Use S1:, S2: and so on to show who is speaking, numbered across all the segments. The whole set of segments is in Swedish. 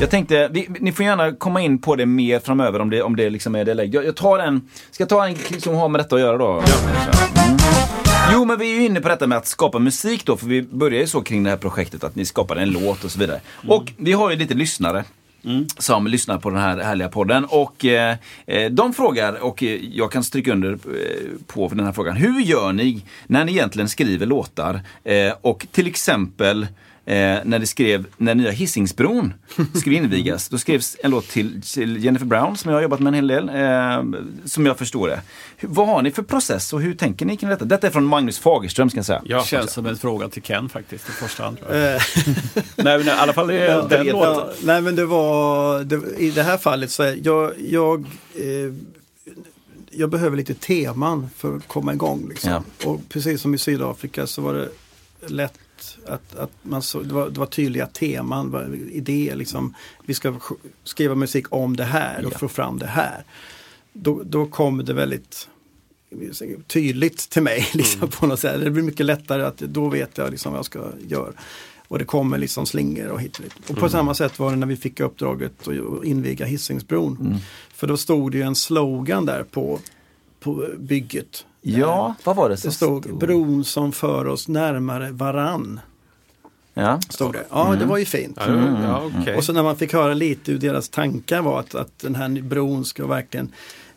S1: Jag tänkte, vi, ni får gärna komma in på det mer framöver om det, om det liksom är det läget. Jag, jag tar en, ska jag ta en som har med detta att göra då? Mm. Jo men vi är ju inne på detta med att skapa musik då, för vi börjar ju så kring det här projektet att ni skapade en låt och så vidare. Och vi har ju lite lyssnare. som lyssnar på den här härliga podden. Och eh, eh, de frågar, och eh, jag kan stryka under eh, på för den här frågan. Hur gör ni när ni egentligen skriver låtar? Eh, och till exempel eh, när ni skrev, när nya Hisingsbron skulle invigas, då skrevs en låt till, till Jennifer Brown som jag har jobbat med en hel del, eh, som jag förstår det. Hur, vad har ni för process och hur tänker ni kring detta? Detta är från Magnus Fagerström ska jag säga.
S2: Ja, Känns som en fråga till Ken faktiskt i första hand. tror jag.
S3: Eh,
S2: nej, men i alla fall det är den
S1: vet
S2: låten.
S3: ja, nej men det var, det, i det här fallet så är jag, jag, eh, jag behöver lite teman för att komma igång. Liksom.
S1: Ja.
S3: Och precis som i Sydafrika så var det lätt att, att man så, det, var, det var tydliga teman, var idéer liksom. Vi ska sk- skriva musik om det här och
S1: Ja.
S3: få fram det här. Då, då kom det väldigt tydligt till mig. Liksom, på något sätt. Det blir mycket lättare att då vet jag liksom, vad jag ska göra. Och det kommer liksom slingor och hit och dit. Och på samma sätt var det när vi fick uppdraget att inviga Hisingsbron. För då stod det ju en slogan där på, på bygget. Eh,
S1: Ja, vad var det som
S3: Det stod bron som för oss närmare varann.
S1: Ja.
S3: Stod det. Ja, det var ju fint. Mm.
S2: Ja, det- ja, okej.
S3: Och så när man fick höra lite hur deras tankar var att, att den här bron ska verkligen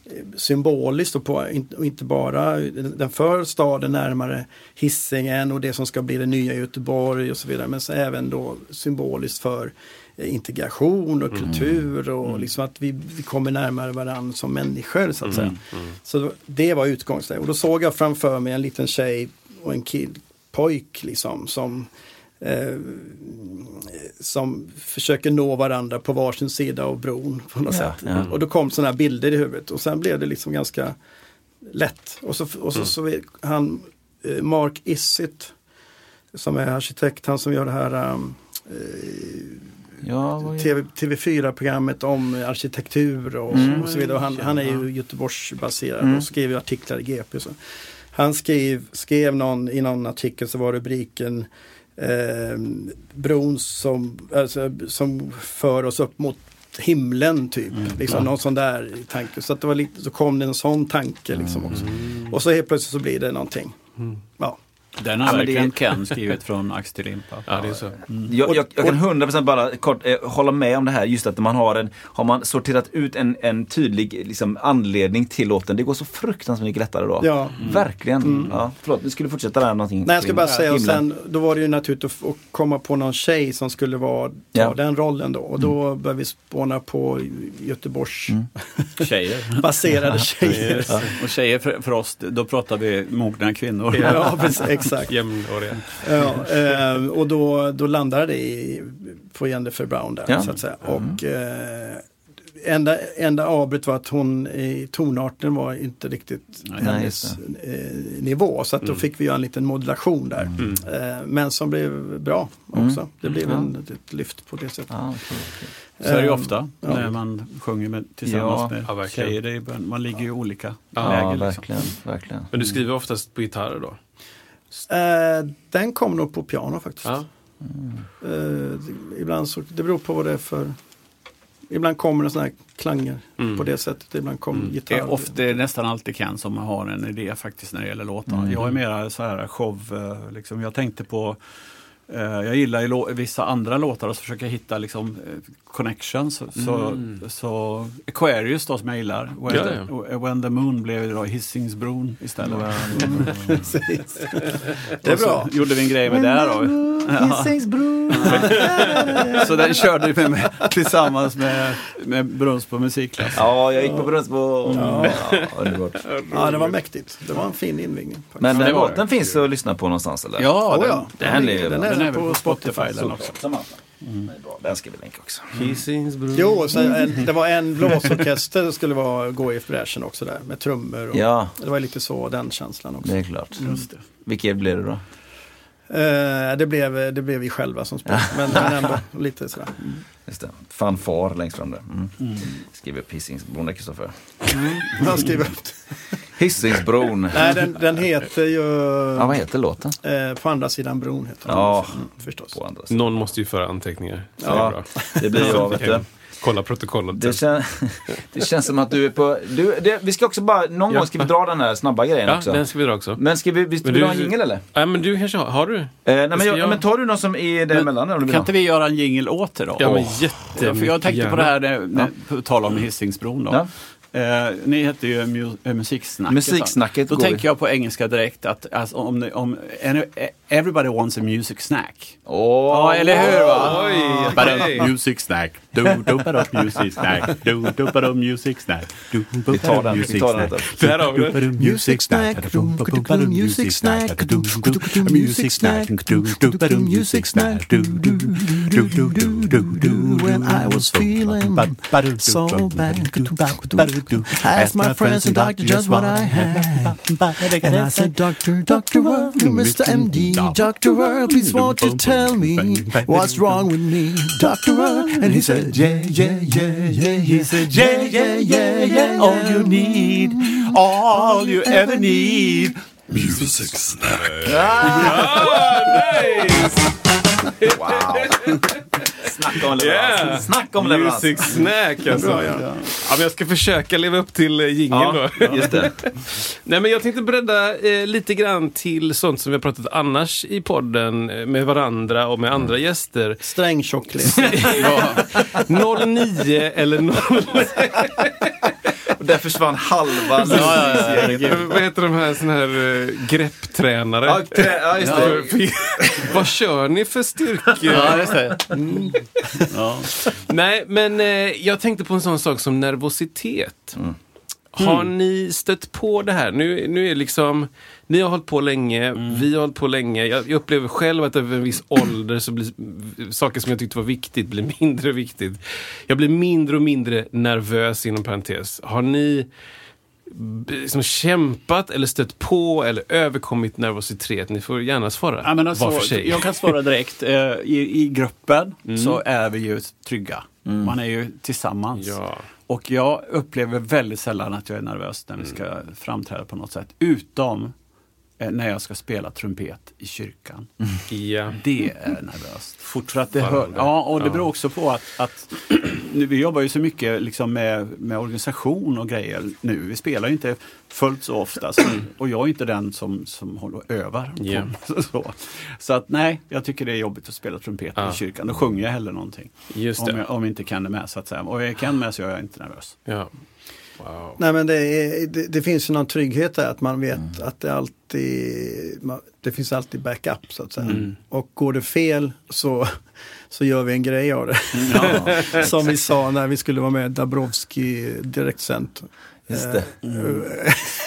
S3: eh, symboliskt och, på, in- och inte bara den för staden närmare Hisingen och det som ska bli det nya Göteborg och så vidare. Men så även då symboliskt för eh, integration och kultur och liksom att vi, vi kommer närmare varandra som människor så att säga. Så det var utgångsläget och då såg jag framför mig en liten tjej och en kill, pojk liksom som eh, som försöker nå varandra på varsin sida av bron. På något
S1: Ja,
S3: sätt.
S1: ja.
S3: Och då kom sådana här bilder i huvudet och sen blev det liksom ganska lätt. Och så, och så,
S1: Mm.
S3: så är han, eh, Mark Isitt, som är arkitekt, han som gör det här um,
S1: Ja, vad-
S3: TV, TV4-programmet om arkitektur och, och så vidare. Och han, han är ju Göteborgsbaserad och skriver artiklar i GP. Så. Han skrev, skrev någon, i någon artikel så var rubriken eh, Bron som, alltså, som för oss upp mot himlen typ. Liksom, Någon sån där tanke. Så, att det var lite, så kom det en sån tanke liksom också. Och så helt plötsligt så blir det någonting. Ja.
S2: Den har
S1: Ja, men det-
S2: verkligen Ken skrivit från ax till limpa. Mm.
S4: Ja, det är så.
S1: Jag, jag, jag kan 100% bara kort eh, hålla med om det här just att man har en, har man sorterat ut en, en tydlig eh, liksom, anledning till låten, det går så fruktansvärt mycket lättare då.
S3: Ja.
S1: Mm. Verkligen. Ja, förlåt, nu skulle du fortsätta där någonting.
S3: Mm. Nej, jag ska
S1: kring
S3: bara säga, och
S1: himlen.
S3: sen, då var det ju naturligt att, f- att komma på någon tjej som skulle vara, ta
S1: Ja. Mm.
S3: den rollen då. Och då började vi spåna på Göteborgs
S2: Tjejer.
S3: baserade tjejer.
S2: Ja. Och tjejer för, för oss, då pratar vi mogna kvinnor.
S3: ja, precis, exakt.
S4: Jämnåriga.
S3: Ja, eh, och då, då landade det i, på Jennifer Brown där,
S1: Ja. Mm.
S3: så att säga. Och eh, enda, enda avbrott var att hon i tonarten var inte riktigt hennes eh, nivå. Så att då
S1: Mm.
S3: fick vi göra en liten modulation där. Eh, men som blev bra
S2: Mm.
S3: också. Det blev en, ett lyft på det sättet.
S1: Ja, okej, okej.
S2: Så är det ju ofta
S3: Ja.
S2: när man sjunger med, tillsammans
S1: Eh, Ja.
S2: med
S4: Ja, verkligen.
S2: tjejer. Det är, bara- man ligger ju i olika
S1: Ah, ja
S2: läger. Liksom.
S1: verkligen. verkligen.
S4: Men du skriver oftast på gitarrer då?
S3: Eh, den kom nog på piano faktiskt.
S4: Ja.
S3: Eh, det- ibland så, det beror på vad det är för... Ibland kommer det sådana här klanger på det sättet. Ibland kommer
S2: Mm. Det
S3: gitarr.
S2: är, ofta, det är nästan alltid Ken som har
S3: Mm.
S2: en idé faktiskt när det gäller låtar. Jag är mera så här show, eh, liksom, jag tänkte på eh, Eh, Jag gillar ju lå- vissa andra låtar och så försöker jag hitta liksom, eh, connections. Så,
S3: Mm.
S2: så, så Aquarius då som jag gillar, When,
S4: Ja,
S2: the, eh, When the Moon blev ju då Hisingsbron istället. Mm.
S1: Mm.
S3: Det är bra.
S2: Och så gjorde vi en grej med det då. Ja. Så den körde vi med, med, tillsammans med, med Brunsbo musikklass.
S1: Ja, jag gick på Brunnsbo.
S3: Mm.
S1: Ja. underbart.
S3: Ja, det var mäktigt. Det var en fin invigning. faktiskt.
S1: Men
S4: det
S1: den
S4: var
S1: låten finns att lyssna på någonstans eller?
S4: Ja,
S3: Oh,
S4: den-
S3: ja.
S1: den här ligger-
S3: den
S2: eh, den
S3: är
S2: är
S3: på
S2: väl på
S3: Spotify.
S2: Spotify.
S3: Så.
S1: Solklart. Samantha. Den är bra. Den ska vi länka också.
S4: Hisingsbron.
S3: Jo, och sen en, det var en blåsorkester som skulle vara, gå i bräschen också där med trummor. Och,
S1: Ja,
S3: Det var lite så den känslan också.
S1: det är klart. Vilket blir det då?
S3: Eh, det, blev, det blev vi själva som spelade, men, men ändå lite sådär.
S1: Just det. Fanfar längst fram där. Mm. Skriver upp Hisingsbron där, Kristoffer.
S3: Jag skriver upp det.
S1: Hisingsbron.
S3: Nej, den, den heter ju
S1: Ja, vad heter låten?
S3: eh, På andra sidan bron. Heter den.
S1: Ja.
S3: Mm, förstås.
S1: På andra sidan.
S4: Någon måste ju föra anteckningar. Så det är
S1: Ja,
S4: bra.
S1: det blir jag vet du.
S4: Kolla protokollet.
S1: Det, kän det känns som att du är på... Du, det, vi ska också bara... Någon
S4: Ja.
S1: gång ska vi dra den här snabba grejen
S4: ja,
S1: också.
S4: den ska vi dra också.
S1: Men ska vi... Visst,
S4: Men
S1: vill du
S4: du-
S1: ha en jingel eller? Eh,
S4: Nej, men du kanske har, har du?
S1: nej, men,
S4: ska
S1: jag,
S4: jag-
S1: men tar du någon som är däremellan? om du vill
S2: Kan
S1: ha?
S2: inte vi göra en jingle åt det då?
S4: Ja, men Mm.
S2: Åh.
S4: jättemycket
S2: För jag tänkte på det här, när- när- på tal om Hisingsbron då.
S1: Ja.
S2: Eh, ni hette ju mu- eh, Musiksnacket.
S1: Musiksnacket
S2: Då
S1: går
S2: tänker
S1: vi.
S2: jag på engelska direkt att alltså, om, ni- om en- eh, everybody wants a music snack.
S1: Åh,
S2: Ja, eller hur va?
S4: Oj,
S2: Bara
S4: okej.
S2: music snack. Du, du, bara music snack. Du, du, bara music snack. Du, du,
S1: Vi tar den, vi
S2: music
S1: tar den.
S2: snack.
S4: Där har vi det.
S2: Music snack, music snack, music snack, music snack, when I was feeling so bad, asked my friends and doctor just what I had, and I said,
S5: Doctor, Doctor World, Mr. MD, Doctor World, please won't you tell me what's wrong with me, Doctor World? And he said, Yeah, yeah, yeah, yeah. He said, Yeah, yeah, yeah, yeah.
S2: all you need, all you ever need.
S4: Ah,
S1: Snacka om leverans.
S4: Yeah.
S1: Snacka om leverans.
S4: Music snack alltså. ja. men jag ska försöka leva upp till eh, jingeln
S1: Ja,
S4: då.
S1: just det.
S4: Nej, men jag tänkte bredda eh, lite grann till sånt som vi har pratat annars i podden eh, med varandra och med andra
S1: Mm.
S4: gäster.
S3: Sträng tjocklek. Ja,
S4: 09 eller 0...
S1: Och där försvann halva lastbilsgänget.
S4: Vad heter de här, sån här eh, grepptränare?
S1: Ja, trä- ja, just
S4: För-
S1: det.
S4: för- Vad kör ni för styrkor?
S2: Ja, just det.
S4: Nej, men eh, jag tänkte på en sån sak som nervositet. Har ni stött på det här? Nu, nu är liksom, ni har hållit på länge, vi har hållit på länge. Jag, jag upplever själv att över en viss ålder så blir v- saker som jag tyckte var viktigt blir mindre viktigt. Jag blir mindre och mindre nervös inom parentes. Har ni b- liksom kämpat eller stött på eller överkommit nervositet? Ni får gärna svara
S2: Ja, men alltså,
S4: var för sig.
S2: Jag kan svara direkt. Eh, I, i gruppen så är vi ju trygga. Man är ju tillsammans.
S4: Ja.
S2: Och jag upplever väldigt sällan att jag är nervös när vi ska
S4: Mm.
S2: framträda på något sätt. Utom eh, när jag ska spela trumpet i kyrkan.
S4: Mm. Ja.
S2: Det är nervöst. Fortfarande. Det hör, ja, och det beror också på att, att nu, vi jobbar ju så mycket liksom med, med organisation och grejer nu. Vi spelar ju inte fullt så ofta så, och jag är inte den som, som håller och övar. på-
S4: Ja.
S2: så. så att nej, jag tycker det är jobbigt att spela trumpet
S4: Ja.
S2: i kyrkan. Då sjunger jag hellre någonting.
S4: Just
S2: Om
S4: det.
S2: jag, om jag inte kan det med så att säga. Och jag kan med så är jag inte nervös.
S4: Ja. Wow.
S3: Nej, men det, är, det, det finns ju någon trygghet där att man vet
S5: Mm.
S3: att det alltid man, det finns alltid backup så att säga.
S5: Mm.
S3: Och går det fel så, så gör vi en grej av det. Som vi sa när vi skulle vara med i Dabrowski direktsänt.
S1: Just det.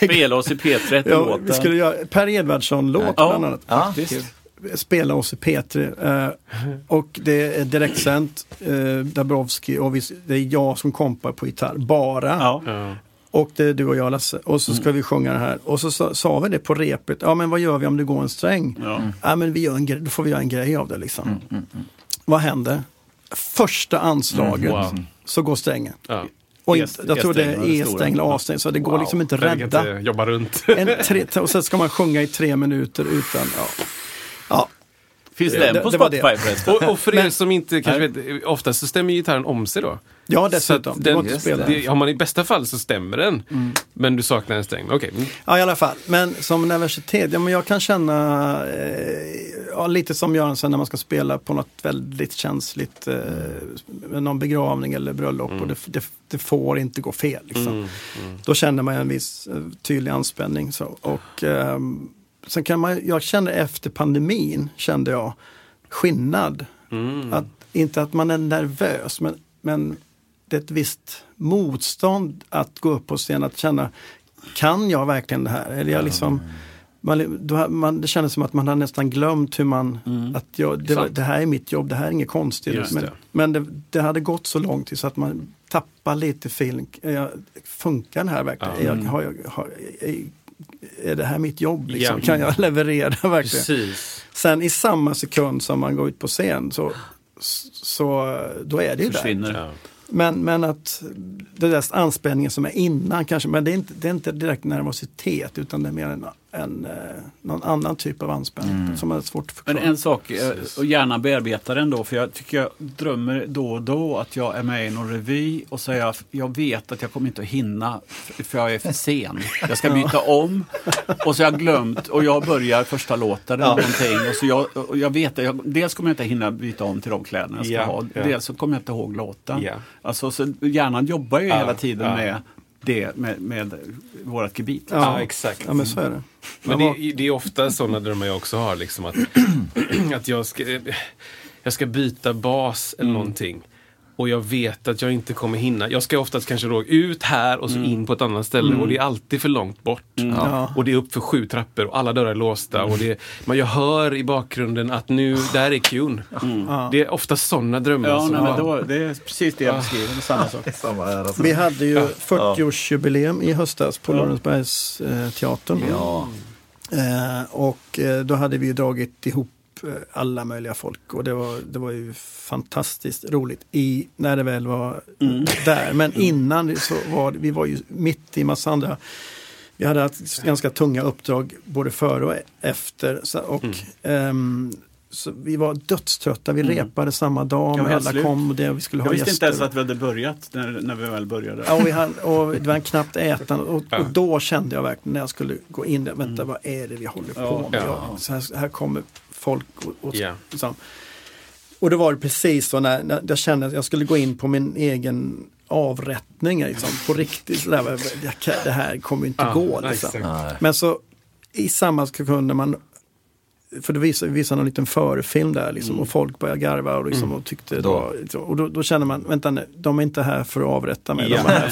S2: Spela oss i
S3: Ja, vi
S2: P13-låten.
S3: skulle göra Per Edvardsson-låt
S2: Ja.
S3: bland annat.
S1: Ja,
S3: spela oss i P3 eh, och det är direktsänt eh, Dabrowski och vi, det är jag som kompar på gitarr, bara.
S2: Ja. Mm.
S4: Ja.
S3: Och det är du och jag Lasse och så ska vi sjunga det här och så sa, sa vi det på repet, ja men vad gör vi om det går en sträng? Mm.
S2: Ja. Mm,
S3: Ja men vi gör en grej, då får vi göra en grej av det liksom. Vad händer? Första anslaget
S2: Mm,
S4: Wow.
S3: så går strängen.
S4: Ja.
S3: Och
S2: E-st-
S3: inte, jag tror det
S2: E-strängen E- var det
S3: är
S2: stora.
S3: E-sträng eller A-sträng så det går liksom inte att
S4: Jag kan
S3: rädda
S4: inte jobba runt.
S3: en, tre, och sen ska man sjunga i tre minuter utan, ja. ja.
S2: Finns
S3: Det-
S2: den på
S3: det var det.
S2: Spotify förresten?
S4: Och, och för er som inte kanske vet, oftast så stämmer gitarren om sig då.
S3: Ja,
S4: Så att
S3: dessutom. Det går
S4: Den,
S3: inte att spela. Mm.
S4: det, har man i bästa fall så stämmer den, men du saknar en sträng. Okej. Mm.
S3: Ja, i alla fall. Men som nervositet, ja men jag kan känna eh, ja, lite som Göransson när man ska spela på något väldigt känsligt, eh, någon begravning eller bröllop
S4: Mm.
S3: och det, det, det får inte gå fel. Liksom. Då känner man en viss eh, tydlig anspänning. Så. Och, ehm, sen kan man, jag kände efter pandemin, kände jag, skillnad.
S2: Mm.
S3: Att, inte att man är nervös, men, men det är ett visst motstånd att gå upp på scen, att känna, kan jag verkligen det här?
S2: Mm.
S3: Eller jag liksom, man, då, har- man, det kändes som att man hade nästan glömt hur man, att jag, det, var, det här är mitt jobb, det här är inget konstigt.
S2: Mm. Just
S3: men
S2: det.
S3: men det, det hade gått så långt till så att man tappar lite feeling. Är jag- Funkar det här verkligen? Är, jag, har jag, har, är, är det här mitt jobb? Liksom?
S4: Ja.
S3: Kan jag leverera verkligen?
S4: Precis.
S3: Sen i samma sekund som man går ut på scen så, så då är det ju där.
S2: Försvinner.
S4: Ja.
S3: Men, men att det där anspänningen som är innan kanske, men det är inte, det är inte direkt nervositet utan det är mer en, en, eh, någon annan typ av anspänning som är svårt
S2: Mm.
S3: att
S2: Men
S3: förklara.
S2: en sak, eh, och gärna bearbeta den då, för jag tycker jag drömmer då och då att jag är med i någon revy och så är jag, jag vet att jag kommer inte att hinna f- för jag är för sen. Jag ska byta om och så har jag glömt och jag börjar första låten eller någonting. Och så jag, och jag vet att jag, dels kommer jag inte hinna byta om till de kläderna jag ska
S4: Ja,
S2: ha,
S4: ja.
S2: dels så kommer jag inte ihåg låten.
S4: Ja.
S2: Alltså, så hjärnan jobbar ju
S4: Ja,
S2: hela tiden
S4: ja.
S2: med det, med, med vårt gebit. liksom.
S4: Ja, exakt.
S3: Ja, men så är det.
S4: Men det, det är ofta sådana drömmar jag också har. Liksom att att jag, ska, jag ska byta bas
S2: Mm.
S4: eller någonting. Och jag vet att jag inte kommer hinna. Jag ska oftast kanske då ut här och så
S2: Mm.
S4: in på ett annat ställe. Och det är alltid för långt bort.
S3: Ja.
S4: Och det är upp för sju trappor och alla dörrar är låsta. Och det, men jag hör i bakgrunden att nu, där är Qn. Det är ofta sådana drömmar.
S2: Mm. Ja,
S4: som
S2: nej,
S4: jag
S2: men
S4: har.
S2: då, det är precis det jag
S4: Ah.
S2: beskriver, samma sak.
S5: Samma här alltså.
S3: Vi hade ju 40-årsjubileum i höstas på Lorensbergsteatern. Eh, teatern. Eh, och eh, då hade vi ju dragit ihop eh, alla möjliga folk och det var, det var ju fantastiskt roligt i, när det väl var
S2: Mm.
S3: där. Men innan det så var det- vi var ju mitt i massa andra vi hade haft ganska tunga uppdrag både före och e- efter. Så, och,
S2: Mm.
S3: ehm, så vi var dödströtta, vi repade samma dag,
S2: Jag
S3: men
S2: var
S3: alla
S2: slut.
S3: kom och det, och vi skulle ha
S2: Jag visste inte
S3: gäster.
S2: ens att vi hade börjat när, när vi väl började.
S3: Ja, och, vi hann- och det var knappt ätande och,
S4: Ja. Mm.
S3: och då kände jag verkligen när jag skulle gå in där, vänta vad är det vi håller på med?
S4: Ja.
S3: Jag, så här, här kommer folk och, och
S4: Ja.
S3: liksom. Och det var det precis så när, när jag kände att jag skulle gå in på min egen avrättning liksom, på riktigt. Så där, jag kan- det här kommer ju inte
S4: Ja,
S3: gå. Liksom.
S4: exakt.
S3: Men så i samma sekund när man för det visade, visade en liten förfilm där liksom,
S4: Mm.
S3: och folk började garva och, liksom, och tyckte det
S1: Då.
S3: var, liksom, och då, då känner man, vänta nu, de är inte här för att avrätta mig, de är här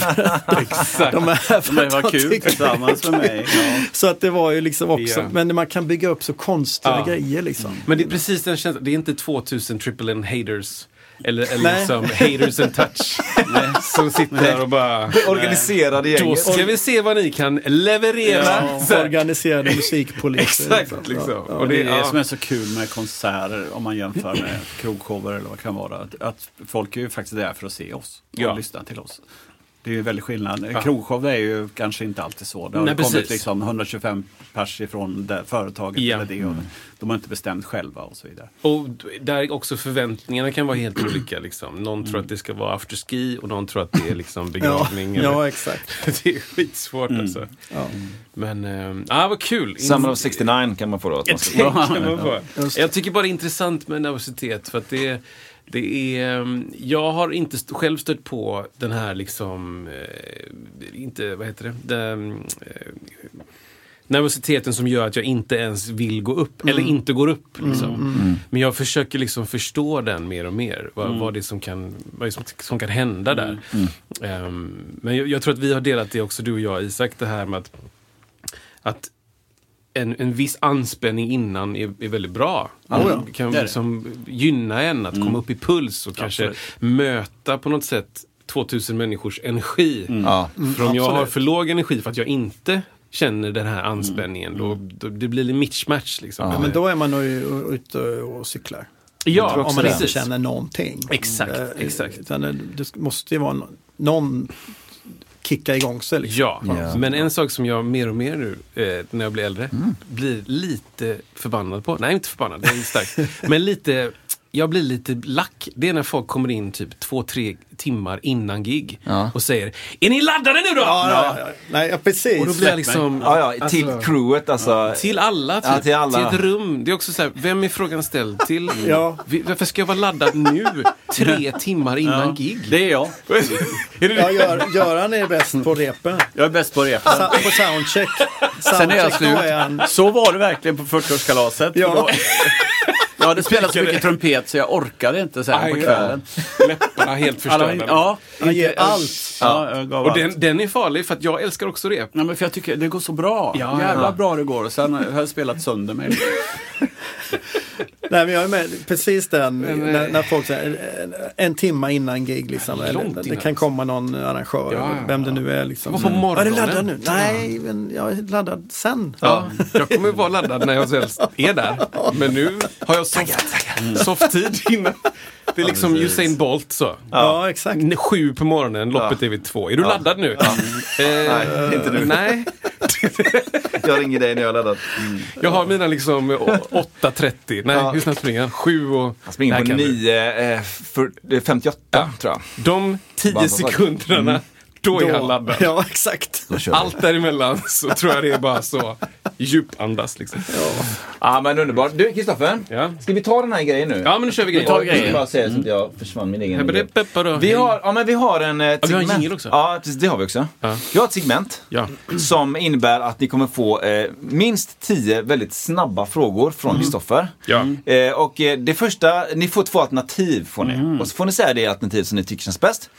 S3: för, de är här för
S2: Men
S3: att
S2: det var
S3: de
S2: kul
S3: tycker-
S2: tillsammans med mig. Ja.
S3: Så att det var ju liksom också,
S4: Ja.
S3: men man kan bygga upp så konstiga
S4: Ja. Mm.
S3: grejer liksom.
S4: Men det är precis den känslan. Det är inte 2000 triple N haters. Eller, eller
S3: Nej.
S4: liksom haters and touch. som sitter där och bara...
S1: Organiserade
S4: Då
S1: gänget.
S4: ska vi se vad ni kan leverera.
S2: Ja.
S4: Så här.
S3: Organiserade musikpoliser.
S4: Exakt liksom.
S3: Ja,
S4: Och
S2: Det
S4: det,
S2: är det som
S4: ja.
S2: är så kul med konserter om man jämför med krogshower eller vad det kan vara. Att, att folk är ju faktiskt där för att se oss och
S4: Ja.
S2: lyssna till oss. Det är ju väldigt skillnad. En krogshow är ju kanske inte alltid så. Det har
S4: Nej,
S2: kommit
S4: precis.
S2: liksom 125 pers ifrån det företaget
S4: Ja. Mm.
S2: eller det. Och de har inte bestämt själva och så vidare.
S4: Och d- där också förväntningarna kan vara helt olika. Liksom. Någon tror att det ska vara afterski och någon tror att det är liksom
S3: Ja,
S4: begravning. eller-
S3: ja, exakt.
S4: det är skitsvårt alltså.
S3: Ja.
S4: Men, ehm, ah, vad kul.
S1: Summer of 69 kan man få då. Att man ska...
S4: Tänk kan man få.
S3: Just det.
S4: Jag tycker bara det är intressant med nervositet för att det, det är... ehm, Jag har inte st- själv stött på den här liksom... Eh, inte, vad heter det? Den, eh, nervositeten som gör att jag inte ens vill gå upp, eller
S3: Mm.
S4: inte går upp. Liksom. Men jag försöker liksom förstå den mer och mer, vad,
S3: Mm.
S4: vad det är som kan, vad det är som, som kan hända där. Ehm, men jag, jag tror att vi har delat det också, du och jag Isak, det här med att, att en, en viss anspänning innan är, är väldigt bra. Det kan
S2: det Mm. är det.
S4: liksom gynna en att komma upp i puls och kanske möta på något sätt 2000 människors energi.
S2: Mm.
S1: Ja.
S4: För om jag har för låg energi för att jag inte känner den här anspänningen,
S2: Mm.
S4: då, då det blir det mismatch. Liksom.
S3: Ja, men då är man nog u- ute och cyklar.
S4: ja
S3: Om man inte
S4: precis.
S3: känner någonting.
S4: Exakt,
S3: Eh,
S4: exakt.
S3: Utan det, det måste ju vara nå- någon kicka igång sig. Liksom.
S4: Ja,
S1: Ja. Mm.
S4: men en sak som jag mer och mer nu eh, när jag blir äldre blir lite förbannad på. Nej, inte förbannad, det är starkt. men lite, jag blir lite lack. Det är när folk kommer in typ två, tre timmar innan gig
S1: Ja.
S4: och säger Är ni laddade nu då?
S3: Ja, ja, ja. Nej, ja, precis.
S4: Och då blir jag liksom...
S1: Ja, ja, till
S4: alltså,
S1: crewet alltså.
S4: till alla, typ,
S1: Ja, till alla.
S4: ett rum. Det är också så här, vem är frågan ställd till?
S3: Ja.
S4: Vi- Varför ska jag vara laddad nu, tre timmar innan gig?
S2: Det är jag.
S4: Är det
S3: Ja, gör, Göran är bäst på repen.
S2: Jag är bäst på repen.
S3: Sa- På soundcheck.
S2: Sen är jag
S3: Soundcheck, då
S2: slut.
S3: är han-
S2: Så var det verkligen på 40-årskalaset.
S3: Ja.
S2: För då- Jag hade spelat så mycket trumpet så jag orkade inte sen på
S4: Aj,
S2: kvällen.
S4: Läpparna helt
S2: Alla,
S4: förstörda.
S2: ja,
S3: Han ger allt.
S2: ja, jag gav
S4: Och
S2: allt.
S4: den, den är farlig för att jag älskar också rep.
S2: Nej, men för jag tycker det går så bra.
S4: Ja,
S2: Jävla
S4: ja.
S2: bra det går. Och sen har jag spelat sönder mig.
S3: Nej, men jag är med. Precis den, när, när folk säger en, en timma innan gig. Liksom,
S4: eh, Ja,
S3: eller,
S4: långt
S3: det
S4: innan.
S3: kan komma någon arrangör,
S4: Ja, ja,
S3: vem det nu är. Liksom.
S4: Det var på
S3: Mm.
S4: morgonen.
S3: Är du laddad nu? Nej, men jag är laddad sen.
S4: Ja. Jag kommer ju vara laddad när jag väl är där. Men nu har jag soft, Mm. softtid innan. Det är liksom Usain Bolt så.
S3: Ja, exakt.
S4: Sju på morgonen, loppet är vid två. Är du laddad nu? Eh,
S1: Nej, inte nu.
S4: Nej,
S1: Jag ringer dig när jag har laddat.
S4: jag har mina liksom eh, å- 8.30. Nej, hur snabbt springer han? Sju och...
S1: Han springer
S4: Nej,
S1: på
S4: kan du.
S1: 9, eh, för- eh, 58 tror jag.
S4: De tio
S1: Bara som sagt.
S4: sekunderna, då är han laddad.
S3: Ja, exakt.
S1: Då kör vi.
S4: Allt däremellan så tror jag det är bara så djupandas liksom.
S1: Ja men underbart. Du Kristoffer,
S4: Ja.
S1: ska vi ta den här grejen nu?
S4: Ja men nu kör vi
S1: vi
S4: grejen. Mm.
S1: tar grejen. Jag ska bara säga så att jag försvann min egen idé. Vi har, ja, men vi har en... Eh,
S4: vi har en
S1: segment.
S4: jingle också.
S1: Ja, precis, det har vi också.
S4: Ja.
S1: Vi har ett segment
S4: Ja.
S1: som innebär att ni kommer få eh, minst 10 väldigt snabba frågor från Kristoffer.
S4: Ja.
S1: Eh, och eh, det första, ni får två alternativ får ni. Och så får ni säga det alternativ som ni tycker känns bäst.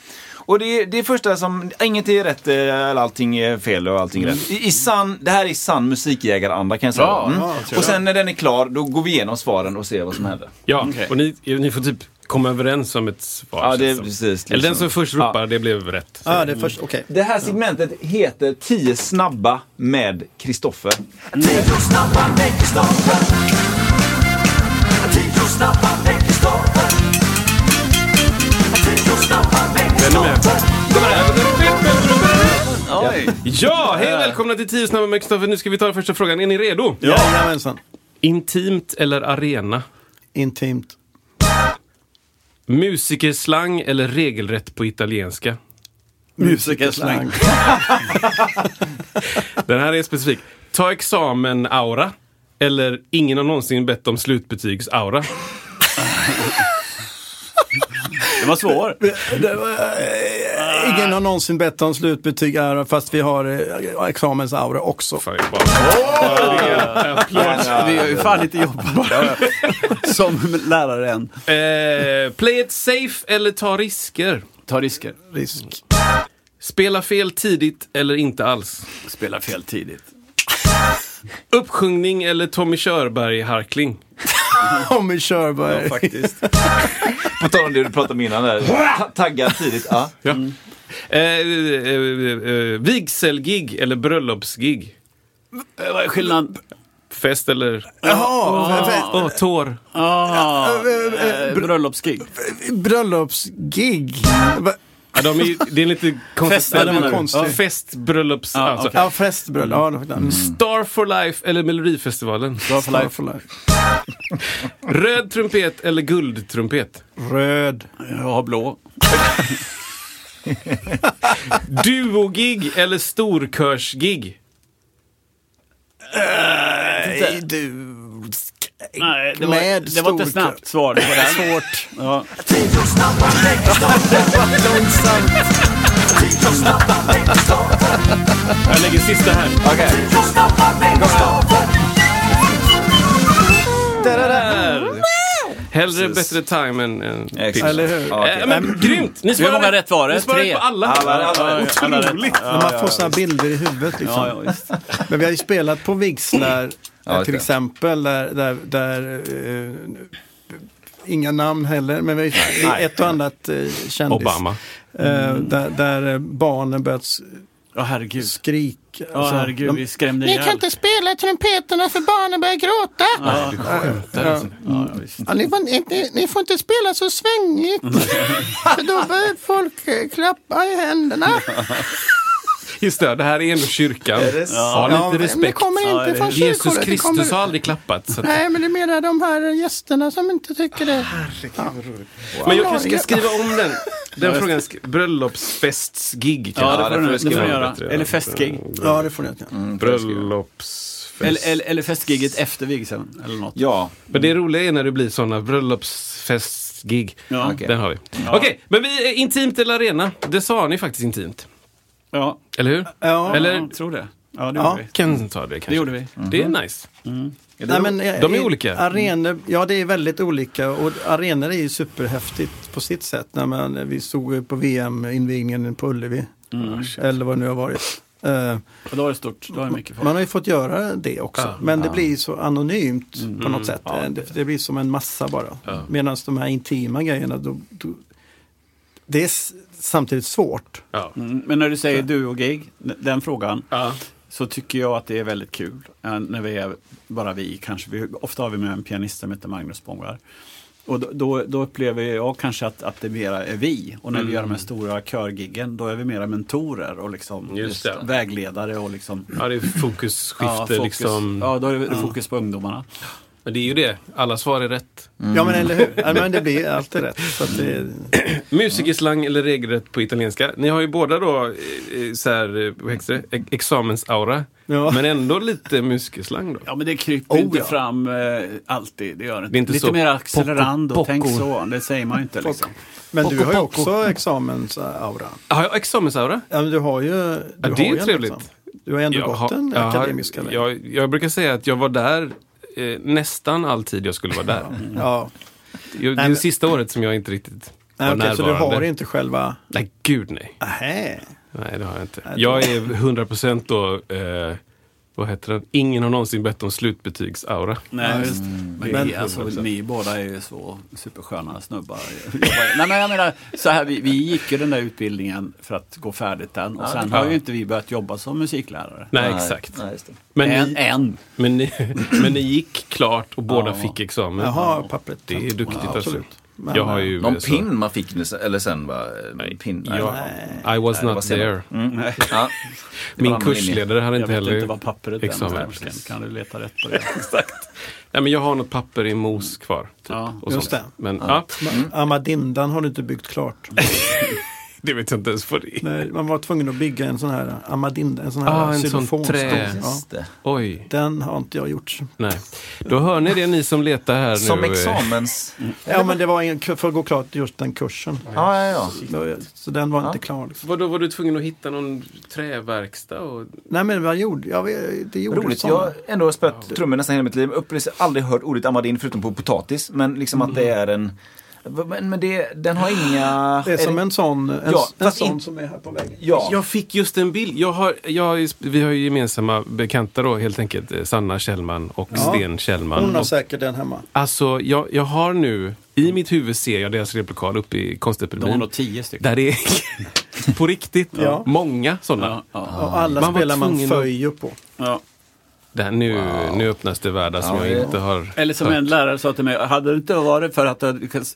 S1: Och det, det första som, inget är rätt, eh, eller allting är fel och allting är rätt. I, i sann, det här är sann musikjägaranda kan jag säga.
S2: Bra,
S1: Mm.
S2: ja,
S1: och sen när den är klar, då går vi igenom svaren och ser vad som händer.
S4: Ja,
S2: Okej.
S4: och ni, ni får typ komma överens om ett svar.
S1: Ja, det är
S4: känns som.
S1: precis. Liksom.
S4: Eller den som först ropar, det blev rätt.
S3: Ja, det är först, okej.
S1: Det här segmentet heter 10 snabba med Kristoffer.
S4: Ja, hej och välkomna till 10 snabba med Kristoffer. Nu ska vi ta den första frågan. Är ni redo?
S3: Jajamensan.
S4: Intimt eller arena?
S3: Intimt.
S4: Musikerslang eller regelrätt på italienska?
S2: Musikerslang.
S4: Den här är specifik. Ta examen-aura. Eller ingen har någonsin bett om slutbetygs-aura.
S2: Det var svår.
S3: Det var, eh, Ingen har någonsin bett om slutbetyg ära fast vi har eh, examensaura också.
S4: Fan, jag bara-
S2: Vi har ju fan inte jobbat som lärare än.
S4: Eh, play it safe eller ta risker?
S2: Ta risker.
S3: Risk.
S4: Spela fel tidigt eller inte alls?
S2: Spela fel tidigt.
S4: Uppsjungning eller Tommy Körberg-harkling?
S3: Tommy Körberg.
S2: Faktiskt.
S1: På tal om det du pratade om innan där. Ta- Taggad tidigt. Ja.
S4: Ja. Eh, eh, eh, eh, vigselgig eller bröllopsgig?
S2: Eh, Vad är skillnaden?
S4: Fest eller...
S3: Jaha, vä-
S4: Åh, tår.
S2: Ah, eh, bröllopsgig.
S3: vä- bröllopsgig. Va-
S4: Ja, de är, det är lite konstigt.
S2: Fest, eller
S4: Ja,
S2: menar du?
S4: konstigt.
S3: Ja.
S4: Fest, bröllops...
S2: Ja,
S4: alltså.
S2: okej.
S3: Ja, festbröllop. Ja, det var- mm.
S4: Star for life eller Melodifestivalen?
S2: Bra för life.
S3: Starfall Life.
S4: Röd trumpet eller guldtrumpet?
S3: Röd.
S2: Jag har blå.
S4: Duogig eller storkörsgig?
S3: Nej, du.
S2: Nej, det var,
S3: Med
S2: det var inte
S3: storkö.
S2: snabbt svar. Det var svårt. Ja.
S4: Jag lägger sista här. Där! Hellre bättre time än... än
S1: Exakt.
S3: Eller hur?
S1: Ja, okej.
S4: Äh, men grymt! Ni svarade,
S2: många rätt var det?
S4: Ni svarade
S2: Tre.
S4: på alla.
S1: Alla- alla-
S2: alla rätt.
S4: Otroligt!
S3: När man får sådana bilder i huvudet liksom.
S2: Ja, ja, visst.
S3: Men vi har ju spelat på vigslar
S1: Ja,
S3: till
S1: det.
S3: exempel där, där, där eh, inga namn heller, men vi har ju det är ett och annat eh, kändis.
S4: Obama.
S3: Eh,
S2: Mm.
S3: där, där eh, barnen börjat s-
S2: Ja, herregud.
S3: skrika.
S2: Ja,
S3: Alltså,
S2: herregud.
S3: de-
S2: Vi skrämde ihjäl.
S6: spela trumpeterna för barnen börjar gråta.
S3: ja,
S2: Alltså, Ja, ja, visst.
S6: Ja, ni, får, ni, ni får inte spela så svängigt. för då börjar folk eh, klappa i händerna.
S4: Just det, det här är ändå kyrkan. Ha
S3: Ja, men-
S4: lite
S6: Men det
S4: respekt.
S6: kommer
S2: Ja,
S6: inte
S2: det-
S6: från
S4: Eh, Jesus
S6: kyrkor, det
S4: Kristus har
S6: kommer...
S4: aldrig klappat. Så att...
S6: Nej, men det menar de här gästerna som inte tycker det.
S4: Men jag kanske ska skriva om den. typ. Den frågan, sk- bröllopsfestsgig
S2: Ja,
S4: kanske.
S2: det får du, det får
S4: skriva
S2: du
S4: om
S2: göra.
S4: bättre.
S2: Eller festgig.
S3: Ja, det får ni göra.
S4: Mm, Bröllopsfest.
S2: Eller, eller, eller festgiget efter vigseln. Eller något.
S1: Ja,
S4: Men det roliga är när det blir sådana bröllopsfestgig.
S2: Ja.
S4: Den har vi. Okej, men vi är intimt eller arena. Det sa ni faktiskt intimt.
S2: Ja,
S4: Eller hur?
S3: Ja,
S4: Eller-
S2: jag tror det. Ja, det
S3: Ja.
S2: gjorde vi.
S4: Ken sa det kanske. Mm.
S2: Det gjorde vi.
S4: Det är nice.
S3: Nej, men, eh,
S4: De är
S3: i-
S4: olika.
S3: Arenor, ja, det är väldigt olika och arenor är ju superhäftigt på sitt sätt. När man, eh, vi såg ju på VM-invigningen på Ullevi,
S4: Mm.
S3: Mm. eller vad det nu har varit. Eh,
S2: Och då är det stort. Då är det mycket folk.
S3: Man har ju fått göra det också,
S4: Ja. Mm.
S3: men det blir så anonymt på något sätt. Eh, det, det blir som en massa bara. Medan de här intima grejerna, då, då, det är s- samtidigt svårt.
S4: Ja.
S2: Mm, Men när du säger du och gig, n- den frågan,
S4: Ja.
S2: så tycker jag att det är väldigt kul. eh, När vi är bara vi kanske. Vi, ofta har vi med en pianist som heter Magnus Spångar. Och då- då, då upplever jag kanske att, att det mera är vi. Och när vi gör
S4: Mm.
S2: de här stora körgiggen, då är vi mera mentorer och liksom
S4: Just det.
S2: vägledare och liksom
S4: ja, det är fokusskifte
S2: fokus.
S4: liksom.
S2: ja, då är det fokus på ungdomarna.
S4: Men det är ju det. Alla svar är rätt.
S3: Ja men
S4: Mm.
S3: eller hur, ja, men det blir alltid rätt. Så att det,
S4: Musikerslang eller regelrätt på italienska. Ni har ju båda då eh, eh, så här, eh, vad heter det? E- examensaura.
S3: Ja.
S4: Men ändå lite musikerslang då.
S2: Ja, men det kryper
S3: Oh,
S2: inte
S3: ja.
S2: fram eh, alltid. Det gör det.
S4: Det är inte
S2: Lite
S4: så
S2: mer
S4: poco-
S2: accelerando, tänk
S4: poco.
S2: så. Det säger man ju inte liksom.
S3: men du har ju också examensaura.
S4: Har jag examensaura?
S3: Ja, men du har ju... Du
S4: det
S3: har
S4: är
S3: ju en
S4: trevligt.
S3: examen. Du har ändå gått den
S4: jag har-
S3: akademiska vägen.
S4: jag, jag brukar säga att jag var där eh, nästan all tid jag skulle vara där.
S3: Ja.
S4: Jag, det är
S3: men-
S4: det sista året som jag inte riktigt var
S3: Nej, okej, så du
S4: närvarande.
S3: har inte själva...
S4: Nej, gud nej.
S3: Nähä.
S4: Nej, det har jag inte. Jag är 100% då, eh, vad heter det? Ingen har någonsin bett om slutbetygsaura.
S2: Nej, just. Men,
S3: Men-
S2: vi, alltså, ni båda är ju så supersköna snubbar. Nej, men jag menar, så här, vi, vi gick ju den där utbildningen för att gå färdigt den. Och sen har ju inte vi börjat jobba som musiklärare.
S4: Nej, exakt.
S1: Nej, just det.
S4: Men,
S2: Än.
S4: ni,
S2: än.
S4: men, ni, men ni gick klart och båda fick examen.
S3: Jaha, pappret.
S4: Det är duktigt alltså.
S3: absolut. Men-
S4: jag har ju...
S1: Någon
S4: eh, så-
S1: pin man fick, nu, eller sen va? Nej. Pin? Nej.
S4: Jag, I was
S1: det var
S4: not
S1: senare.
S4: there.
S1: Ja.
S4: Min
S1: annan
S4: kursledare hade
S2: Jag
S4: inte
S2: vet
S4: heller...
S2: inte vad pappret är.
S4: examen,
S2: men
S4: precis.
S2: Kan du leta rätt på det?
S4: Nej, men jag har något papper i mos kvar. Typ,
S2: Ja,
S4: och
S3: just
S4: sånt.
S3: det.
S4: Men ja.
S3: Amadindan har du inte byggt klart.
S4: det vet jag inte ens vad det är.
S3: Nej, man var tvungen att bygga en sån här amadinda, en sån här
S4: Ah, en sån
S3: xylofonstång.
S4: trä.
S3: Ja.
S1: Just det.
S4: Oj,
S3: Den har inte jag gjort.
S4: nej. Då hör ni det ni som letar här
S1: Som
S4: nu. eh,
S1: examens...
S3: Ja, men det var en, för att gå klart just den kursen.
S1: Ja, ja, ja.
S3: Så den var inte klar. Liksom.
S4: Vadå, var du tvungen att hitta någon träverkstad? Och...
S3: Nej, men vad gjorde jag? vet- Det gjorde
S1: Roligt.
S3: sån.
S1: Jag har ändå spöat trummor nästan hela mitt liv. Upplevs aldrig hört ordet amadin förutom på potatis. Men liksom att
S4: Mm.
S1: det är en... Men, men det, den har inga...
S3: Det är som en sån, en,
S1: Ja,
S3: en
S1: fast
S3: sån
S1: in-
S3: som är här på vägen.
S1: Ja.
S4: Jag fick just en bild. Jag har, jag har, ju- vi har ju gemensamma bekanta då helt enkelt. eh, Sanna Kjellman och Sten Kjellman.
S3: Hon har
S4: Och-
S3: säkert den hemma.
S4: Alltså, jag, jag har nu, i mitt huvud ser jag deras replokal uppe i
S2: De har
S4: Konstakademin.
S2: nog tio stycken.
S4: Där det är, på riktigt,
S3: Ja.
S4: många sådana.
S2: Ja,
S1: Ah.
S2: ja,
S3: Och alla
S4: Man var
S3: spelar man
S4: tvungen att-
S3: föjer på.
S2: ja.
S4: Där, nu, nu öppnas det världar som
S1: Ja,
S4: jag
S1: det-
S4: inte har
S2: Eller som
S4: hört.
S2: en lärare sa till mig, hade det inte varit för att du hade lyckats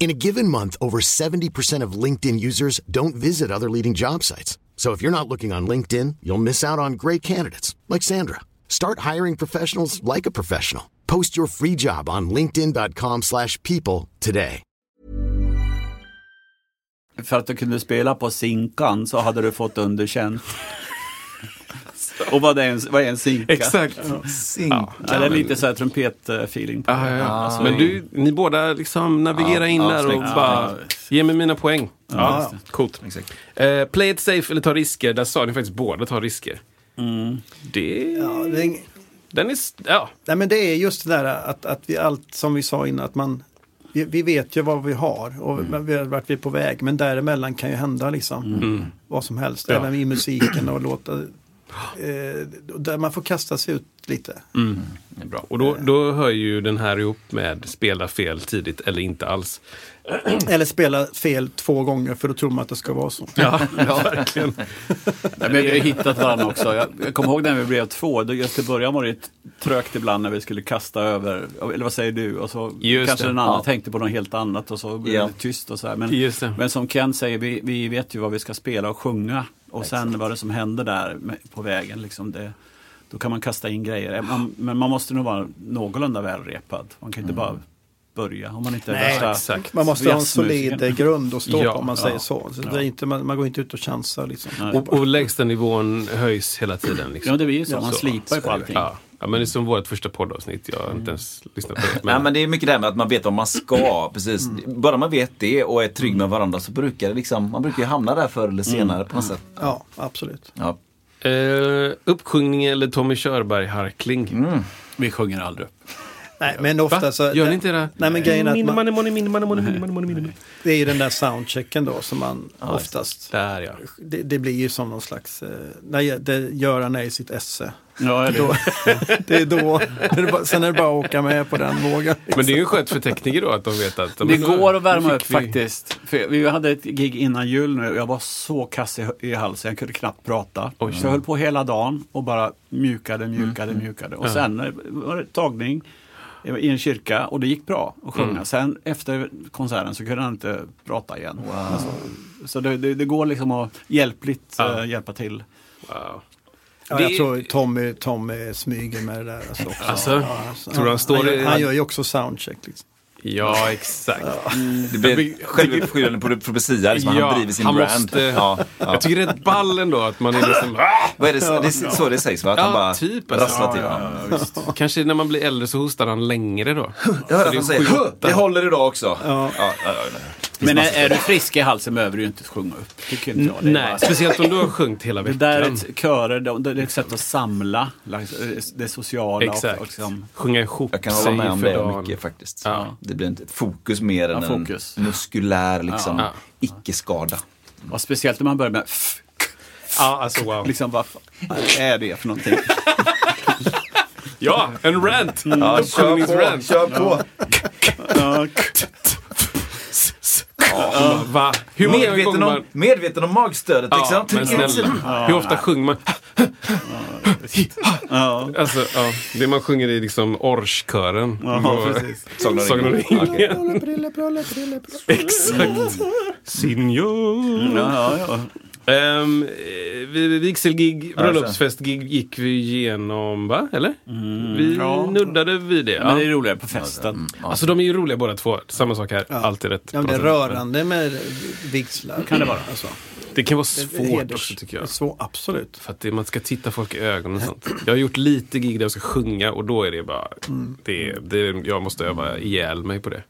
S7: In a given month, over 70% of LinkedIn users don't visit other leading job sites. So if you're not looking on LinkedIn, you'll miss out on great candidates like Sandra. Start hiring professionals like a professional. Post your free job on linkedin.com/people slash people today.
S2: För att du kunde spela på sinkan så hade du fått underkänt. Och vad är en, vad är en sinka?
S4: Exakt.
S1: Zink.
S2: Ja, det är lite så här trumpet-feeling. på
S4: Ja, ja,
S2: det.
S4: ja. men du, ni båda liksom navigerar in
S1: ja,
S4: där och
S1: snyggt.
S4: bara, ge mig mina poäng. Ja, coolt.
S1: Exakt.
S4: Eh, play it safe eller ta risker, där sa ni faktiskt båda ta risker.
S2: Mm.
S4: Det,
S3: Ja, det är ing-
S4: den är, s- ja.
S3: Nej men det är just det där att, att vi allt som vi sa innan att man vi, vi vet ju vad vi har och vi har vart vi är på väg. Men däremellan kan ju hända liksom vad som helst.
S4: Ja.
S3: Även i musiken och låta... Eh, där man får kasta sig ut lite.
S1: Det är bra.
S4: Och då, då hör ju den här ihop med spela fel tidigt eller inte alls.
S3: Eller spela fel två gånger för då tror man att det ska vara så.
S4: Ja, verkligen.
S2: Nej, men vi har ju hittat varandra också. Jag, jag kommer ihåg när vi blev två. Då- Just i början var det ju trögt ibland när vi skulle kasta över, eller vad säger du? Och så
S4: Just
S2: kanske
S4: det.
S2: den andra
S1: Ja.
S2: tänkte på något helt annat och så blev
S1: Ja.
S2: det tyst och så här. Men,
S4: Just det.
S2: men som Ken säger, vi, vi vet ju vad vi ska spela och sjunga. Och sen vad det som händer där med- på vägen. Liksom det, då kan man kasta in grejer. Man, men man måste nog vara någorlunda välrepad. Man kan inte bara börja om man inte är
S3: Nej,
S2: värsta-
S4: Exakt.
S3: Man måste ha en
S2: jazzmusiken.
S3: solid eh, grund att stå
S4: Ja,
S3: på om man
S4: ja,
S3: säger så. så det är inte, man, man går inte ut och chansar liksom.
S2: Nej.
S4: Och, och lägsta nivån höjs hela tiden. Liksom.
S2: Ja, det blir ju så. Man slipar ju på
S4: är det.
S2: allting.
S4: Ja. ja, men det är som vårt första poddavsnitt. Jag har inte ens lyssnat på det.
S1: Nej men det är mycket det här med att man vet vad man
S3: Mm.
S1: ska. Precis. Bara man vet det och är trygg med varandra så brukar det liksom, man brukar ju hamna där förr
S4: Mm.
S1: eller senare på något sätt.
S3: Ja, absolut.
S1: Ja.
S4: Eh, uppsjungning eller Tommy Körberg-harkling?
S2: Vi sjunger aldrig upp.
S3: Nej, men ofta
S4: Va?
S3: så...
S4: Gör ni inte det?
S3: Nej, men grejen är att
S4: Min
S3: man-
S4: money, money, min money, money, min money, money, min money.
S3: Det är ju den där soundchecken då som man oftast...
S4: Där ja.
S3: Det, det blir ju som någon slags... Eh, nej, det, Göran är i sitt esse.
S2: Ja, eller
S3: Då, det är då... Det är bara, sen är det bara att åka med på den vågen.
S4: Men det är ju skönt för tekniker då att de vet att...
S2: Det
S4: men-
S2: går att värma
S4: fick
S2: upp
S4: vi-
S2: faktiskt. För vi hade ett gig innan jul nu och jag var så kass i, i halsen, jag kunde knappt prata. Så jag höll på hela dagen och bara mjukade, mjukade,
S4: Mm.
S2: mjukade. Och sen eh, var det tagning i en kyrka och det gick bra att sjunga.
S4: Mm.
S2: Sen efter konserten så kunde han inte prata igen. Alltså, så det, det, det går liksom att hjälpligt
S4: Ja.
S2: eh, hjälpa till.
S4: Wow.
S3: Ja,
S4: Det-
S3: jag tror Tommy, Tommy smyger med det där. Alltså, också.
S4: Alltså,
S3: ja, alltså,
S4: tror du han står
S3: han,
S4: i-
S3: gör, han gör ju också soundcheck. Liksom.
S4: Ja, exakt.
S1: Det blir självuppskyllande på profetia, liksom,
S4: Ja,
S1: han driver sin
S4: han
S1: brand.
S4: måste-
S1: Ja, ja.
S4: Jag tycker det är ett ball ändå att man är liksom... "Ah!"
S1: Vad är det, det är så det sägs va? Att
S4: Ja,
S1: han bara
S4: typ, alltså.
S1: rasslar till. Ja, Ah!
S4: Kanske när man blir äldre så hostar han längre då.
S1: Jag hör att han säger "Hö, det håller idag också. Ja. Ja, ja, ja.
S2: Men är, är du frisk i halsen behöver du ju inte sjunga upp. Tycker inte jag. Det är bara-
S4: Nej, speciellt om du har sjungit hela
S2: Det
S4: veckan.
S2: där är ett, körer, de- det är ett sätt att samla like, det sociala.
S4: Exakt.
S2: Och, och liksom,
S4: Sjunga ihop
S1: Jag kan hålla med om
S4: för
S1: det
S4: dagen.
S1: mycket faktiskt.
S4: Ja.
S1: Det blir inte ett fokus mer än
S2: Ja, fokus.
S1: en muskulär liksom,
S4: Ja.
S1: icke-skada.
S2: och speciellt när man börjar med f,
S4: Ja, alltså wow.
S2: liksom vad fan är det för någonting?
S4: Ja, en rant!
S1: Mm. Ja, kör på,
S4: Uppsjungningsrant.
S1: kör på.
S2: Ja,
S4: Ja, Va? Hur många
S1: Medveten
S4: gånger
S1: om,
S4: man...
S1: magstödet liksom.
S4: Ja, men
S1: Tryck in
S4: snälla.
S1: sidan.
S4: Hur ofta sjunger man?
S2: ja.
S4: Alltså, ja, det man sjunger i liksom Orskören.
S2: Ja, precis.
S1: Sagan om
S4: Sagan om
S1: ringen.
S4: ringen.
S6: Prille, prille, prille, prille, prille.
S4: Exakt. Signor.
S2: Mm, Ja, ja.
S4: Um, vigselgig, bröllopsfestgig gick vi igenom, va? Eller? Vi
S2: Mm, Ja.
S4: nuddade vid det.
S2: Men det är
S4: Ja.
S2: roligare på festen.
S4: Alltså de är ju roliga båda två. Samma sak här. Alltid rätt.
S3: Ja, men
S4: på
S3: det är
S4: något sätt.
S3: rörande med vigslar.
S2: Kan det vara.
S3: Alltså,
S4: Det kan vara
S3: det är
S4: svårt
S3: heders-
S4: också tycker jag.
S3: Svår, absolut.
S4: För att det, man ska titta folk i ögonen och sånt. Jag har gjort lite gig där jag ska sjunga och då är det bara... Det, det, jag måste öva ihjäl mig på det.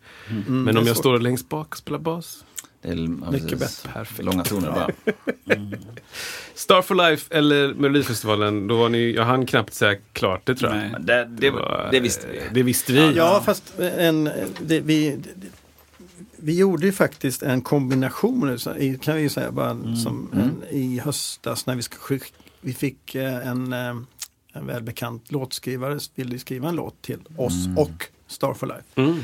S4: Men om jag står längst bak och spelar bas.
S1: Det är, ja,
S3: Mycket
S1: precis.
S3: bättre.
S1: Perfekt. Långa toner bara.
S4: Star for Life eller Melodifestivalen, då var ni... Jag hann knappt säga klart det tror jag.
S2: Nej.
S1: Men Det, det, var- det visste vi.
S4: Det visste vi.
S3: Ja, fast en, det, vi, det, vi gjorde ju faktiskt en kombination, nu, så- i- kan vi ju säga, bara
S4: Mm.
S3: som En, i höstas när vi, ska skick, vi fick eh, en, eh, en välbekant låtskrivare som ville skriva en låt till oss och Star for Life.
S4: Mm.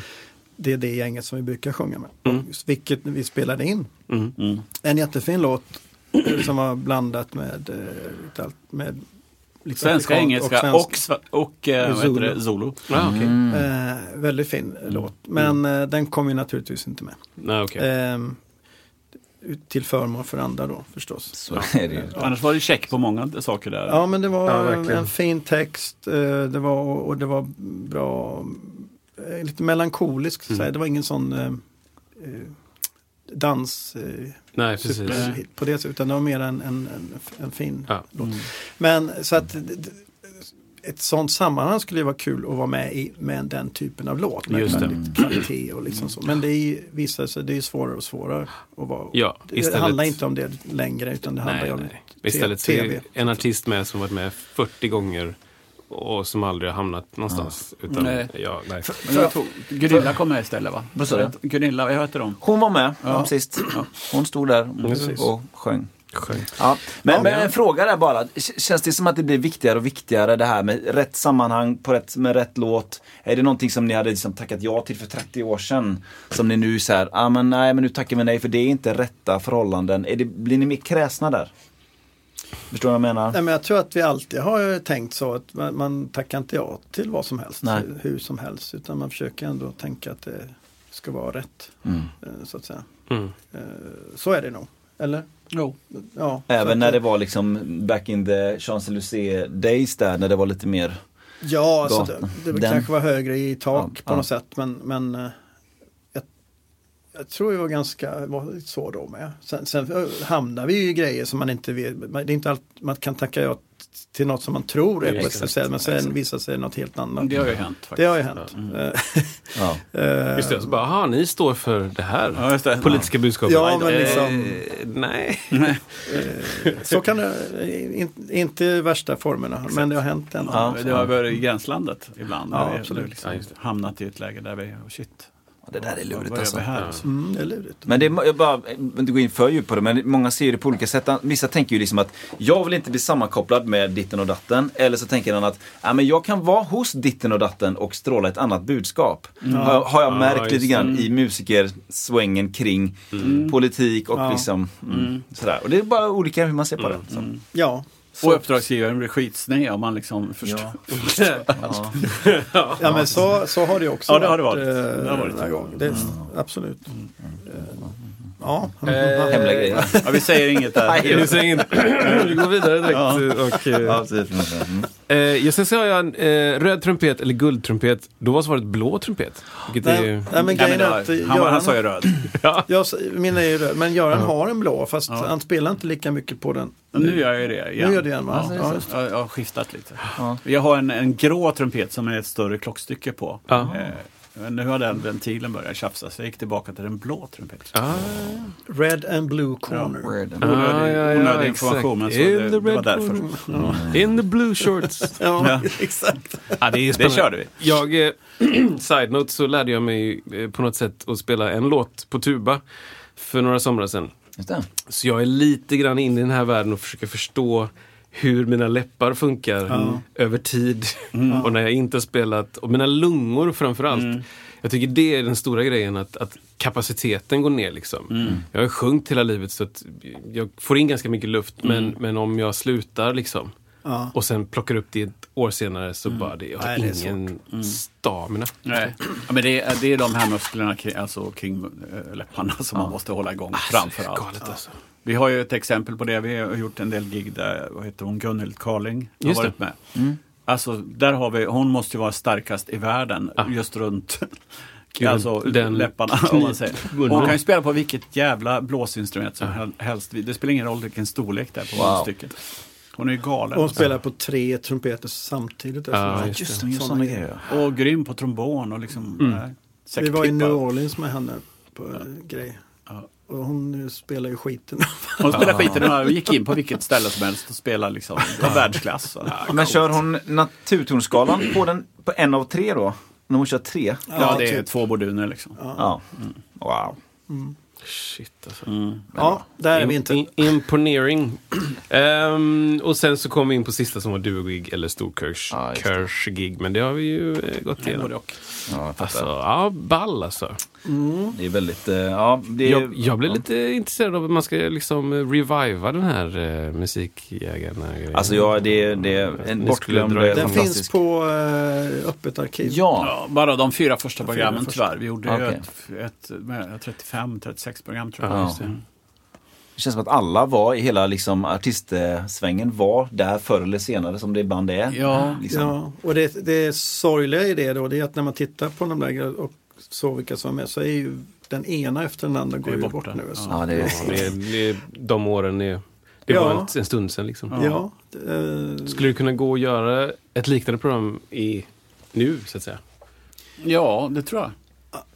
S3: Det är det gänget som vi brukar sjunga med, vilket vi spelade in.
S4: Mm.
S3: En jättefin låt eh, som var blandat med, eh, lite allt- med lite
S2: Svenska,
S3: afrikanskt
S2: engelska och, sva- och eh, vad heter det, Zulu.
S4: Ah, okej.
S3: Eh, väldigt fin låt,
S4: Mm.
S3: men eh, den kom ju naturligtvis inte med.
S4: Nej, Ah, okej.
S3: Ehm, ut- till förmån för andra då förstås.
S1: Så är det ju.
S2: Annars var det check på många saker där.
S3: Ja men det var
S4: Ja, verkligen.
S3: en fin text eh, det var, och det var bra, eh, lite melankolisk,
S4: Mm.
S3: så att säga. det var ingen sån eh, eh, dans eh,
S4: Nej, precis.
S3: superhit på det sättet, utan det var mer en, en, en, en fin
S4: Ja.
S3: låt. Men så att d- d- ett sånt sammanhang skulle ju vara kul att vara med i med den typen av låt. Med
S4: Just det.
S3: väldigt kvalitet och liksom så. Men det är ju- visar sig, det är ju svårare och svårare att vara.
S4: Ja,
S3: det
S4: istället-
S3: handlar inte om det längre utan det handlar ju
S4: Nej,
S3: om
S4: nej.
S3: te-
S4: Istället så är
S3: tv.
S4: det en artist med som varit med 40 gånger och som aldrig har hamnat någonstans. Utan,
S2: Nej.
S4: Ja, nej.
S2: Men jag tror, Gunilla kom med istället va?
S1: Vad sa du?
S2: Gunilla, vad hette de?
S1: Hon var med ja. sist. Hon stod där och sjöng. Ja. Men, men en fråga där bara. K- Känns det som att det blir viktigare och viktigare det här med rätt sammanhang, på rätt, med rätt låt? Är det någonting som ni hade liksom tackat ja till för 30 år sedan? Som ni nu säger, ah, men nej men nu tackar vi nej för det är inte rätta förhållanden. Är det, blir ni mer kräsna där? Förstår du vad jag menar?
S3: Nej, men jag tror att vi alltid har tänkt så att man, man tackar inte ja till vad som helst,
S1: Nej.
S3: hur som helst, utan man försöker ändå tänka att det ska vara rätt. eh, Så att säga.
S4: Mm.
S3: Eh, Så är det nog, eller?
S2: Jo.
S3: Ja, så att-
S1: Även när det var liksom back in the Champs-Élysées days där, när det var lite mer
S3: Ja, alltså
S1: gatan.
S3: det, det
S1: Den-
S3: kanske var högre i tak
S1: Ja,
S3: på
S1: ja.
S3: något sätt, men, men eh, jag, jag tror vi var ganska var så då med. Sen, sen eh, hamnar vi ju i grejer som man inte vet, man- det är inte allt, man kan tacka ja t- till något som man tror är på ett
S4: Exakt,
S3: sätt, men sen visar sig något helt annat.
S2: Det har ju hänt faktiskt.
S3: Det har ju hänt. Eh,
S1: ja.
S3: eh,
S4: Just det, så bara, aha, ni står för det här
S2: Ja, just det.
S4: politiska budskapet.
S3: Ja, men liksom-
S4: Eh, nej.
S3: så kan det, eh, in, inte i värsta formerna, men det har hänt ändå.
S1: Ja.
S2: Det har varit i gränslandet ibland.
S3: Ja,
S2: när vi
S3: absolut.
S2: Liksom
S4: Ja, just det.
S2: hamnat i ett läge där vi, oh shit,
S1: Det där är
S2: vad
S1: lurigt
S2: gör
S1: alltså.
S2: vi här?
S3: Mm, det är lurigt.
S1: Men det är, jag bara, jag vill inte gå in för djupt på det, men många ser det på olika sätt. Vissa tänker ju liksom att jag vill inte bli sammankopplad med ditten och datten. Eller så tänker han att ja, men jag kan vara hos ditten och datten och stråla ett annat budskap. Har, har jag
S4: Ja,
S1: märkt lite
S4: just
S1: grann i musikersvängen kring politik och
S3: Ja.
S1: liksom mm, sådär. Och det är bara olika hur man ser på det. Så.
S3: Ja.
S2: Och uppdragsgivaren blir skitsned om man liksom förstår.
S1: Ja. Ja.
S3: Ja men så, så har det också
S2: Ja, det har det varit.
S3: eh,
S2: Det har varit. Mm.
S3: några gånger. Det, Absolut. Eh, Ja.
S1: Hemliga
S3: Eh,
S1: grejer.
S2: Ja, vi säger inget där.
S1: Nej,
S4: Vi säger inget. Vi går vidare direkt. Och, eh, eh, jag sen sa jag eh, röd trumpet eller guldtrumpet. Då var svaret blå trumpet. Vilket är ju...
S3: Nej, nej men
S2: Nej, men
S3: grejen
S2: det
S3: är
S2: har-
S3: att
S2: han, var, han
S3: Göran,
S2: sa ju röd.
S3: jag, min är ju röd, men Göran har en blå fast han spelar inte lika mycket på den.
S2: Men Nu gör jag ju det igen.
S3: Nu gör det igen va?
S1: Alltså, det är
S3: ja,
S1: så.
S3: just det.
S2: Jag, jag har skiftat lite. Jag har en, en grå trumpet som är ett större klockstycke på.
S4: Ja.
S2: Eh, men nu har den ventilen börjat tjafsa så jag gick tillbaka till den blå trumpeten.
S4: Ah,
S3: Red and blue corner.
S4: ah, ja, ja,
S2: onödig
S4: exakt.
S2: information, men så
S4: In
S2: det-
S4: the
S2: det var
S4: red
S2: därför.
S4: corner. In the blue shorts.
S3: Ja,
S2: Ja.
S3: exakt.
S4: ja, det, är
S2: Det
S4: spännande.
S2: körde vi.
S4: Jag, eh, side note, så lärde jag mig eh, på något sätt att spela en låt på tuba för några somrar sedan.
S1: Just det.
S4: Så jag är lite grann inne i den här världen och försöker förstå hur mina läppar funkar över tid.
S3: Mm.
S4: Och när jag inte har spelat, och mina lungor framförallt. Jag tycker det är den stora grejen, att, att kapaciteten går ner. Liksom.
S3: Mm.
S4: Jag har sjunkit hela livet så att jag får in ganska mycket luft. Men, men om jag slutar liksom,
S3: Mm. Ja. Mm.
S4: och sen plockar upp det ett år senare så bara, det, jag har
S3: Nej, det är Mm.
S4: ingen stamina.
S2: Nej. Ja, men det, är, det är de här musklerna kring, alltså, kring eh, läpparna som man måste hålla igång framför allt.
S4: Ah, Galet alltså.
S2: Vi har ju ett exempel på det. Vi har gjort en del gig där, vad heter hon, Gunhild Carling har
S4: Just det.
S2: varit med. Alltså, där har vi, hon måste ju vara starkast i världen just runt alltså,
S4: Ah. den
S2: läpparna. Om man säger. Hon kan ju spela på vilket jävla blåsinstrument
S4: Ah.
S2: som hel- helst. Det spelar ingen roll vilken storlek det är på
S1: Wow.
S2: munstycket. Hon är ju galen.
S3: Hon spelar på tre trumpeter samtidigt.
S4: Ja, just
S1: Just det, hon gör sådana grejer.
S2: Och grym på trombon och liksom...
S4: Mm.
S2: nej,
S3: Vi var i
S2: säckpipa.
S3: New Orleans med henne på en grej. Och hon eh, spelar ju skiten.
S2: Hon
S4: Ah.
S2: spelade skiten i några- gick in på vilket ställe som helst och spelade liksom. Det var världsklass.
S4: Ah.
S1: Men kör hon naturtonskalan på, den, på en av tre då? När hon kör tre?
S2: Ja, det är
S3: typ.
S2: två borduner liksom.
S1: Ja. Mm. Wow.
S4: Shit alltså.
S3: Ja, där är vi inte.
S4: In, imponering. Ehm, och sen så kom vi in på sista som var duogig eller
S1: Ja, just det.
S4: storkursgig. Men det har vi ju eh, gått igenom.
S2: Både och.
S1: Ja, jag
S4: Alltså,
S1: fattar.
S4: ja, ball alltså.
S1: Det är väldigt, eh, ja, det är,
S4: Jag, jag blev lite intresserad av att man ska liksom eh, reviva den här eh, musikjägarna grejen.
S1: Alltså ja, det, det är en
S4: Ni skulle
S1: bortglömd
S4: dra er
S3: Den
S4: fantastisk.
S3: finns på eh, öppet arkiv.
S1: Ja,
S2: Ja, bara de fyra första programmen tyvärr. Vi gjorde ju
S1: Okej.
S2: ett, ett, med 35, 36 program tror jag.
S4: Ja.
S2: Just det.
S1: det känns som att alla var i hela liksom artistsvängen var där förr eller senare som det ibland är.
S2: Ja.
S1: liksom.
S3: Ja, och det, det sorgliga i det då, det är att när man tittar på de där och så vilka som är med så är ju den ena efter den andra går ju
S2: borta.
S3: bort, nu. Alltså.
S1: Ja, det är,
S4: Ja, det, det, de åren är... Det
S3: Ja.
S4: var ett, en stund sedan liksom.
S3: Ja, eh,
S4: Skulle du kunna gå och göra ett liknande program i nu, så att säga?
S2: ja, det tror jag.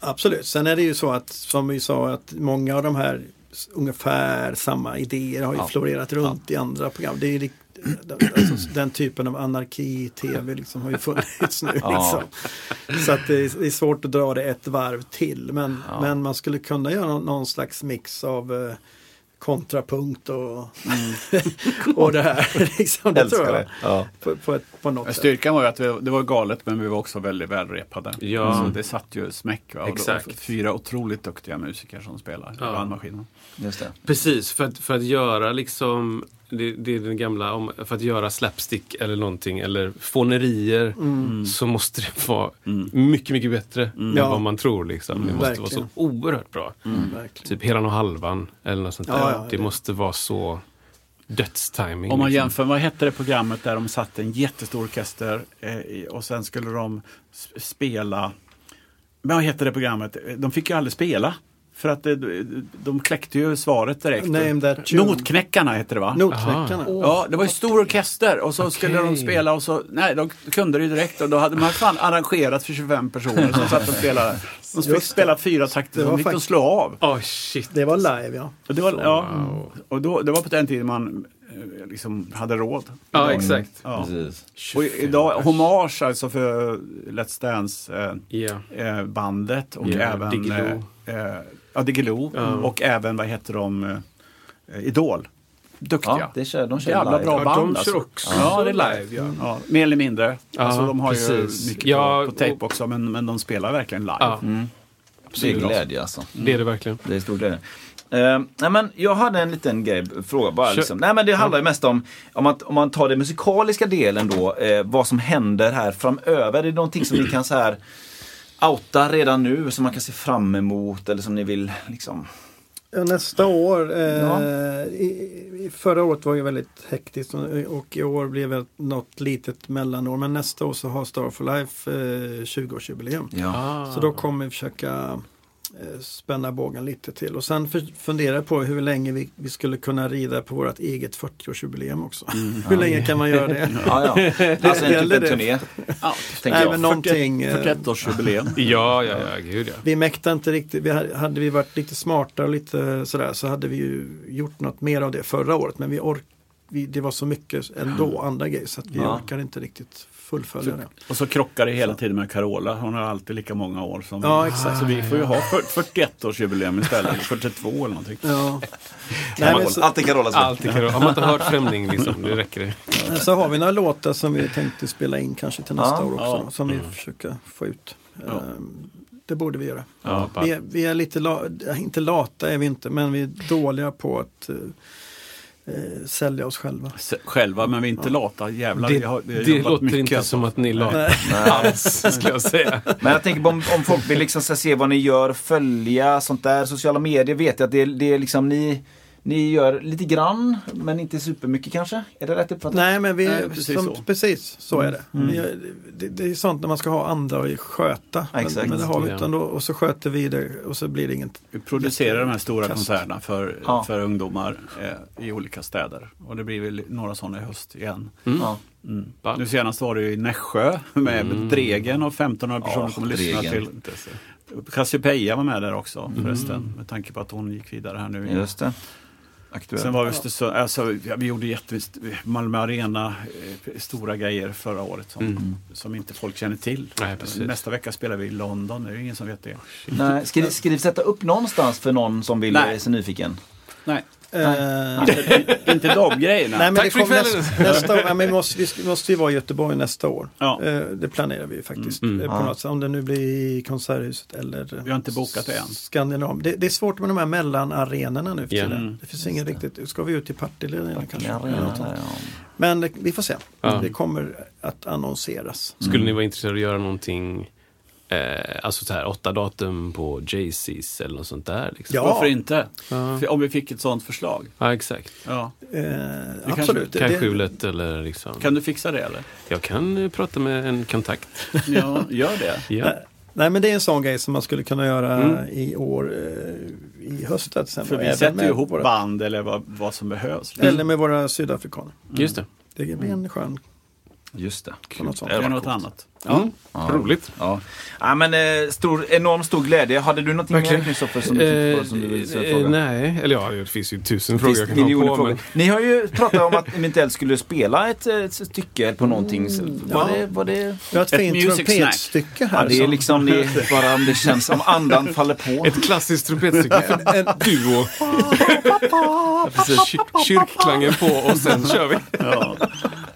S3: absolut. Sen är det ju så att, som vi sa, att många av de här s- ungefär samma idéer har ju florerat runt i andra program. Det är ju lik- den, alltså, den typen av anarki i tv liksom har ju funnits nu.
S1: Ja.
S3: Liksom. Så att det, är, det är svårt att dra det ett varv till. Men, men man skulle kunna göra någon, någon slags mix av eh, kontrapunkt och, och det här. Liksom, det tror
S1: Mm. Älskar
S3: jag.
S1: det. Ja.
S3: På, på, ett, på något sätt.
S2: Styrkan var ju att vi, det var galet men vi var också väldigt välrepade.
S4: Ja.
S2: Alltså, det satt ju smäck. Va? Och då-
S4: Exakt.
S2: Fyra otroligt duktiga musiker som spelar
S4: Ja.
S2: bandmaskinen.
S1: Just det.
S4: Precis, för att, för att göra liksom det, det är den gamla, om, för att göra slapstick eller någonting eller fånerier så måste det vara mycket, mycket bättre än
S3: Mm. Ja. Mm.
S4: vad man tror. Liksom. Det måste vara så
S3: Verkligen.
S4: oerhört bra.
S3: Verkligen.
S4: Typ Helan och halvan eller något sånt där.
S3: Ja, ja,
S4: det
S3: det-
S4: måste vara så dödstiming.
S2: Om man
S4: liksom.
S2: jämför, vad hette det programmet där de satt en jättestor orkester eh, i- och sen skulle de s- spela, men vad hette det programmet? Eh, De fick ju aldrig spela. För att eh, de kläckte ju svaret direkt.
S3: Name that tune.
S2: Notknäckarna hette det va?
S3: Notknäckarna.
S2: Ja, det var ju stor orkester och så skulle
S4: Okej.
S2: de spela och så, nej, de kunde det ju direkt och då hade man fan arrangerat för 25 personer som satt och spelade. De fick
S3: Just det.
S2: spela fyra takter,
S3: Det
S2: de
S3: var
S2: fick de
S3: fakt-
S2: slå av.
S4: Åh, shit.
S3: Det var live ja.
S2: Och det var, ja, och då, det var på den tiden man eh, liksom hade råd.
S4: Ja, exakt.
S2: Ja.
S1: Precis.
S2: Och i- idag, hommage alltså för Let's Dance-bandet
S4: Ja.
S2: eh, bandet och
S4: Ja,
S2: även
S4: Diggiloo.
S2: Eh, eh, ja, Diggiloo och även, vad heter de, eh, Idol. Duktiga.
S1: Ja, det kör, de kör
S2: Jävla
S1: live.
S2: bra
S4: Ja,
S2: band
S4: de kör
S2: alltså.
S4: också
S2: Ja, det är live.
S4: live, ja.
S2: Ja.
S3: Mm.
S2: mer eller mindre.
S4: Ja,
S2: alltså, de har
S4: precis.
S2: ju mycket
S4: Ja,
S2: på, på tape
S4: och-
S2: också, men, men de spelar verkligen live.
S4: Ja,
S3: Mm.
S1: Det är glädje alltså.
S4: det är det verkligen.
S1: Det är stor glädje. Eh, nej men jag hade en liten grej, fråga bara.
S4: Kör.
S1: Liksom. Nej men det handlar ju mest om, om, att, om man tar den musikaliska delen då, eh, vad som händer här framöver. Är det någonting som ni kan så här outa redan nu, som man kan se fram emot eller som ni vill liksom?
S3: Ja, Nästa år. Eh,
S1: Ja.
S3: i, i- förra året var ju väldigt hektiskt och, och i år blev det något litet mellanår. Men nästa år så har Star for Life eh, 20-årsjubileum.
S1: Ja.
S4: Ah.
S3: Så då kommer vi försöka eh, spänna bågen lite till. Och sen för, fundera på hur länge vi, vi skulle kunna rida på vårt eget 40-årsjubileum också. hur länge kan man göra det?
S1: Mm. Ja, ja. Alltså en typ
S3: Gäller
S1: en
S3: det?
S1: turné.
S2: Ja,
S1: tänker
S3: Nej,
S1: jag.
S3: men någonting. eh,
S2: 41-årsjubileum.
S4: Ja, ja, ja, gud ja.
S3: Vi mäktade inte riktigt, vi hade, hade vi varit lite smartare och lite sådär så hade vi ju gjort något mer av det förra året men vi ork, vi, det var så mycket ändå andra grejer så att vi
S1: Ja.
S3: orkar inte riktigt fullfölja det.
S2: och så krockar det hela tiden med Carola. Hon har alltid lika många år som
S3: Ja, exakt.
S2: Så vi får ju ha fyrt- 41-årsjubileum istället, eller 42 eller någonting.
S3: Ja. Nej, men så,
S1: Allting Carolas fel.
S4: Allt är karo- Om man inte hört Främling liksom, det räcker det.
S3: så har vi några låtar som vi tänkte spela in kanske till nästa
S1: Ja.
S3: år också
S2: Ja.
S3: då, som vi försöker få ut. Ehm, Det borde vi göra.
S4: Ja, bara-
S3: Vi är, vi är lite, la, äh, inte lata är vi inte, men vi är dåliga på att eh, eh, sälja oss själva.
S2: S- Själva, men vi är inte lata jävlar.
S4: Det,
S2: vi har, vi har
S4: det
S2: jobbat
S4: låter
S2: mycket,
S4: inte
S2: alltså.
S4: som att ni la alls, skulle jag säga.
S1: Men jag tänker på om, om folk vill liksom så här se vad ni gör, följa sånt där. Sociala medier vet jag att det, är- det är liksom ni, ni gör lite grann men inte supermycket kanske? Är det rätt uppfattat?
S3: Nej, men vi,
S2: Nej, precis
S3: precis, som,
S2: så.
S3: så. precis så är det.
S4: Mm.
S3: Vi- det. Det är sånt när man ska ha andra och sköta. Men,
S1: Exakt.
S3: men det har vi
S4: Ja.
S3: utan då, och så sköter vi det och så blir det inget.
S2: Vi producerar de här stora
S3: Kast.
S2: konserterna för,
S1: Ja.
S2: för ungdomar eh, i olika städer. Och det blir väl några sådana i höst igen.
S1: Ja.
S4: Ballt.
S2: Nu senast var det ju i Nässjö med Dregen och 1500 personer
S1: Ja,
S2: kommer lyssna
S1: Dregen.
S2: till. Cassiopeia var med där också förresten med tanke på att hon gick vidare här nu.
S1: Just det. Aktuellt.
S2: Sen var Östersund, alltså, ja, vi gjorde jättevisst Malmö Arena, eh, stora grejer förra året som, som inte folk känner till.
S4: Nej, precis.
S2: Nästa vecka spelar vi i London, det är ju ingen som vet det.
S1: Nej, skriv, skriv sätta upp någonstans för någon som vill
S2: Nej.
S1: är så nyfiken.
S2: Nej,
S3: Eh,
S2: inte de grejerna.
S3: Nej, men
S4: Tack
S3: det
S4: för
S3: kommer
S4: kvällen.
S3: nästa, nästa år. Ja, men vi, måste, vi ska- måste ju vara i Göteborg nästa år.
S2: Ja.
S3: Eh, Det planerar vi ju faktiskt.
S4: Mm.
S3: eh, på
S1: Ja.
S3: något sätt. Om det nu blir i Konserthuset eller
S2: Vi har inte bokat det än.
S3: Skandinav. Det, det är svårt med de här mellanarenorna nu för
S4: Ja.
S3: tiden.
S2: Mm.
S3: Det finns ingen riktigt. Ska vi ut i Partille redan kanske?
S1: Ja,
S3: Eller
S1: redan
S3: något sånt.
S1: där, ja.
S3: Men eh, vi får se.
S4: Ja.
S3: Det kommer att annonseras.
S4: Skulle
S1: Mm.
S4: ni vara intresserade av att göra någonting, eh, alltså så här åtta datum på Jay-Z's eller något sånt där? Liksom?
S3: Ja.
S2: Varför inte? För Om vi fick ett sånt förslag.
S4: Ja, exakt.
S2: Ja.
S3: Eh,
S2: kanske-
S3: absolut. Det-
S4: Kajskjulet eller liksom.
S2: Kan du fixa det eller?
S4: Jag kan eh, prata med en kontakt.
S2: Ja, gör det.
S4: Ja.
S1: mm.
S3: Nej men det är en sån grej som man skulle kunna göra
S2: Mm.
S3: i år eh, i höst. till exempel.
S2: För vi
S3: Även
S2: sätter
S3: med
S2: ju ihop
S3: våra,
S1: Mm.
S2: band eller vad, vad som behövs.
S3: Eller med våra sydafrikaner.
S4: Just det.
S3: Det blir en skön
S1: Just det.
S3: något sånt.
S1: Det
S2: Det
S1: var
S2: är något
S1: coolt.
S2: annat.
S3: Ja.
S4: Mm. Roligt.
S1: Ja. ja men eh, stor, enormt stor glädje. Hade du någonting mer
S4: Verkligen.
S1: Kristoffer som, du
S4: Eh,
S1: tänkte på som du ville
S4: eh,
S1: ställa fråga?
S4: nej, eller ja, det finns ju tusen
S1: Det
S4: frågor
S1: finns
S4: jag kan
S1: miljoner
S4: ha på.
S1: frågor.
S4: Men,
S1: Ni har ju pratat om att eventuellt skulle spela ett, eh, ett stycke på någonting. Så
S4: Mm,
S1: var,
S3: ja.
S1: det, var det...
S3: Vi har ett,
S2: Ett
S3: fint
S2: music snack.
S3: trumpetstycke
S1: Ja,
S3: här.
S1: det är
S3: som-
S1: liksom det, är bara om det känns, om andan faller på.
S4: ett klassiskt trumpetstycke för en duo. Precis, kyr- kyrkklangen på och sen kör vi.
S2: Ja.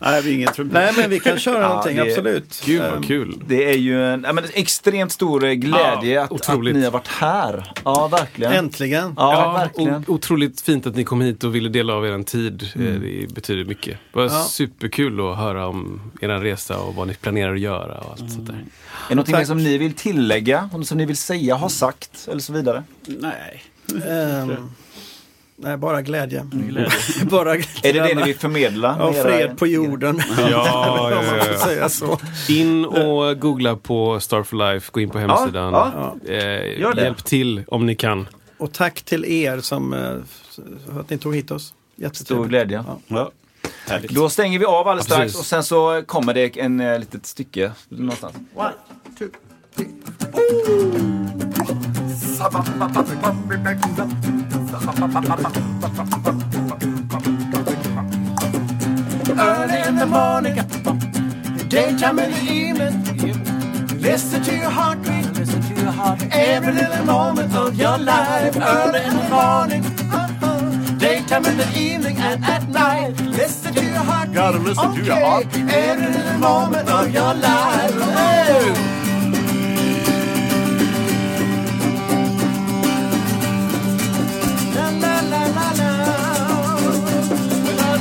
S2: Nej, vi är ingen trumpet.
S3: Nej men vi kan köra någonting,
S1: det-
S3: absolut. Ehm,
S4: Gud vad kul.
S1: Det är ju en ja, men extremt stor eh, glädje
S4: Ja,
S1: att, att
S4: otroligt.
S1: ni har varit här. Ja, verkligen.
S3: Äntligen.
S1: Ja,
S4: Ja,
S3: oh,
S1: verkligen. Mm.
S4: o- otroligt fint att ni kom hit och ville dela av er tid. Eh, Det betyder mycket. Det var superkul att höra om er resa och vad ni planerar att göra och allt sånt där.
S1: Är det någonting som ni vill tillägga, något som ni vill säga, ha sagt eller så vidare?
S2: Nej.
S3: Ehm, nej, bara glädje.
S2: Glädje.
S3: bara
S1: Är det det ni vill förmedla? med
S3: Ja,
S1: era-
S3: fred på jorden.
S4: Ja,
S3: Om man får säga så.
S4: In och googla på Star for Life, gå in på hemsidan.
S1: ja.
S4: Eh,
S1: Gör det.
S4: hjälp till om ni kan.
S3: Och tack till er som eh, för att ni tog hit oss.
S1: Stor
S3: Jättetrevligt.
S1: glädje.
S2: Ja. Härligt.
S1: Då stänger vi av alldeles
S4: Ja,
S1: strax
S4: precis.
S1: och sen så kommer det en eh, litet stycke någonstans.
S5: Early in the morning, daytime in the evening. Listen to your heartbeat, listen to your heartbeat. Every little moment of your life. Early in the morning, daytime in the evening, and at night. Listen to your heartbeat. Gotta listen to your heartbeat. Every little moment of your life. Hey. La, la, la, la, la. Well,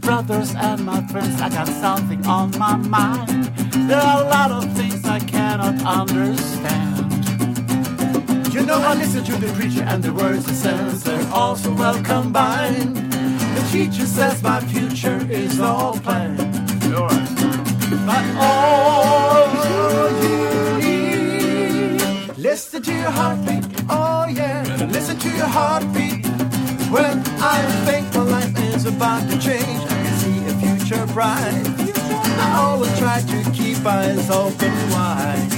S5: brothers and my friends, I got something on my mind. There are a lot of things I cannot understand. You know, I listen to the preacher and the words he says, they're all so well combined. The teacher says my future is all planned. But all you need, listen to your heartbeat. Oh yeah, listen to your heartbeat. When I think my life is about to change, I can see a future bright. I always try to keep eyes open wide.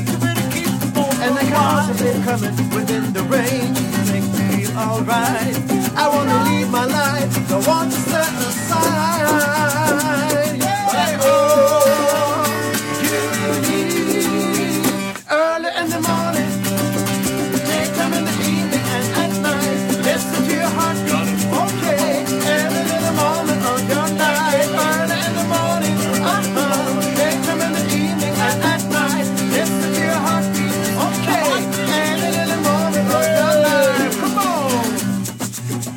S5: And the cars as they're coming within the range make me feel alright. I wanna leave my life, don't want to set aside. But oh, you need early in the morning, daytime in the evening, and at night. Listen to your heart, okay. Every little moment of your life, early in the morning, uh-huh. daytime in the evening, and at night. Listen to your heartbeat, okay. Every little moment of your life, come on.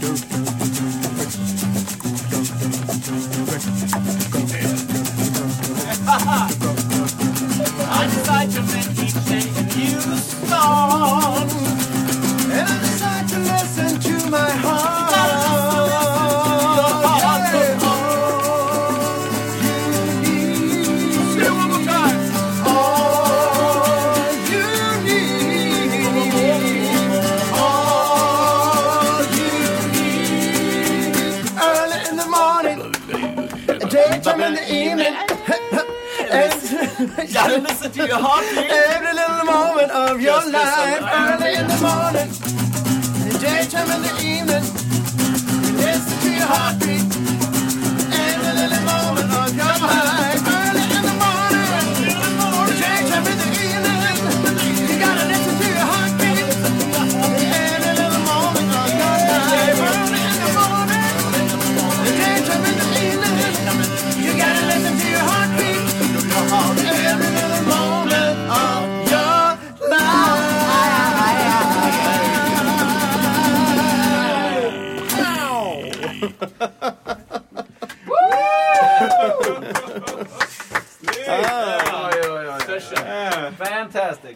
S5: I decide to make each day a new song. And I decide to listen to my heart. Yeah. All you need. All you need. All you need. Early in the morning, daytime in the evening. And-
S6: Gotta listen to your heartbeat.
S5: Every little moment of your life, early in the morning, daytime in the evening, listen to your heartbeat. Every little moment of your life, early in the morning, daytime in the evening, you gotta listen to your heartbeat. Every little moment of your life, early in the morning, daytime in the evening, you gotta listen to your heartbeat. Every little moment of your life.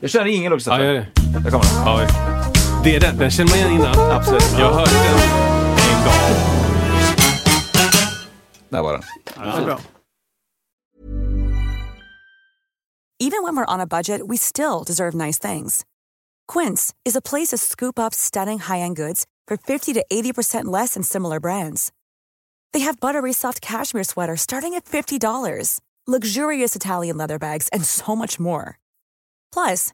S1: Jag kör ingen också.
S4: Ja, gör det.
S1: Där kommer den.
S4: Ja, det är den. Den känner man igen innan.
S1: Absolut.
S4: Jag hörde den.
S1: Där var den.
S3: Ja, bra.
S8: even when we're on a budget, we still deserve nice things. Quince is a place to scoop up stunning high-end goods for 50 to 80% less than similar brands. They have buttery soft cashmere sweaters starting at $50, luxurious Italian leather bags, and so much more. Plus,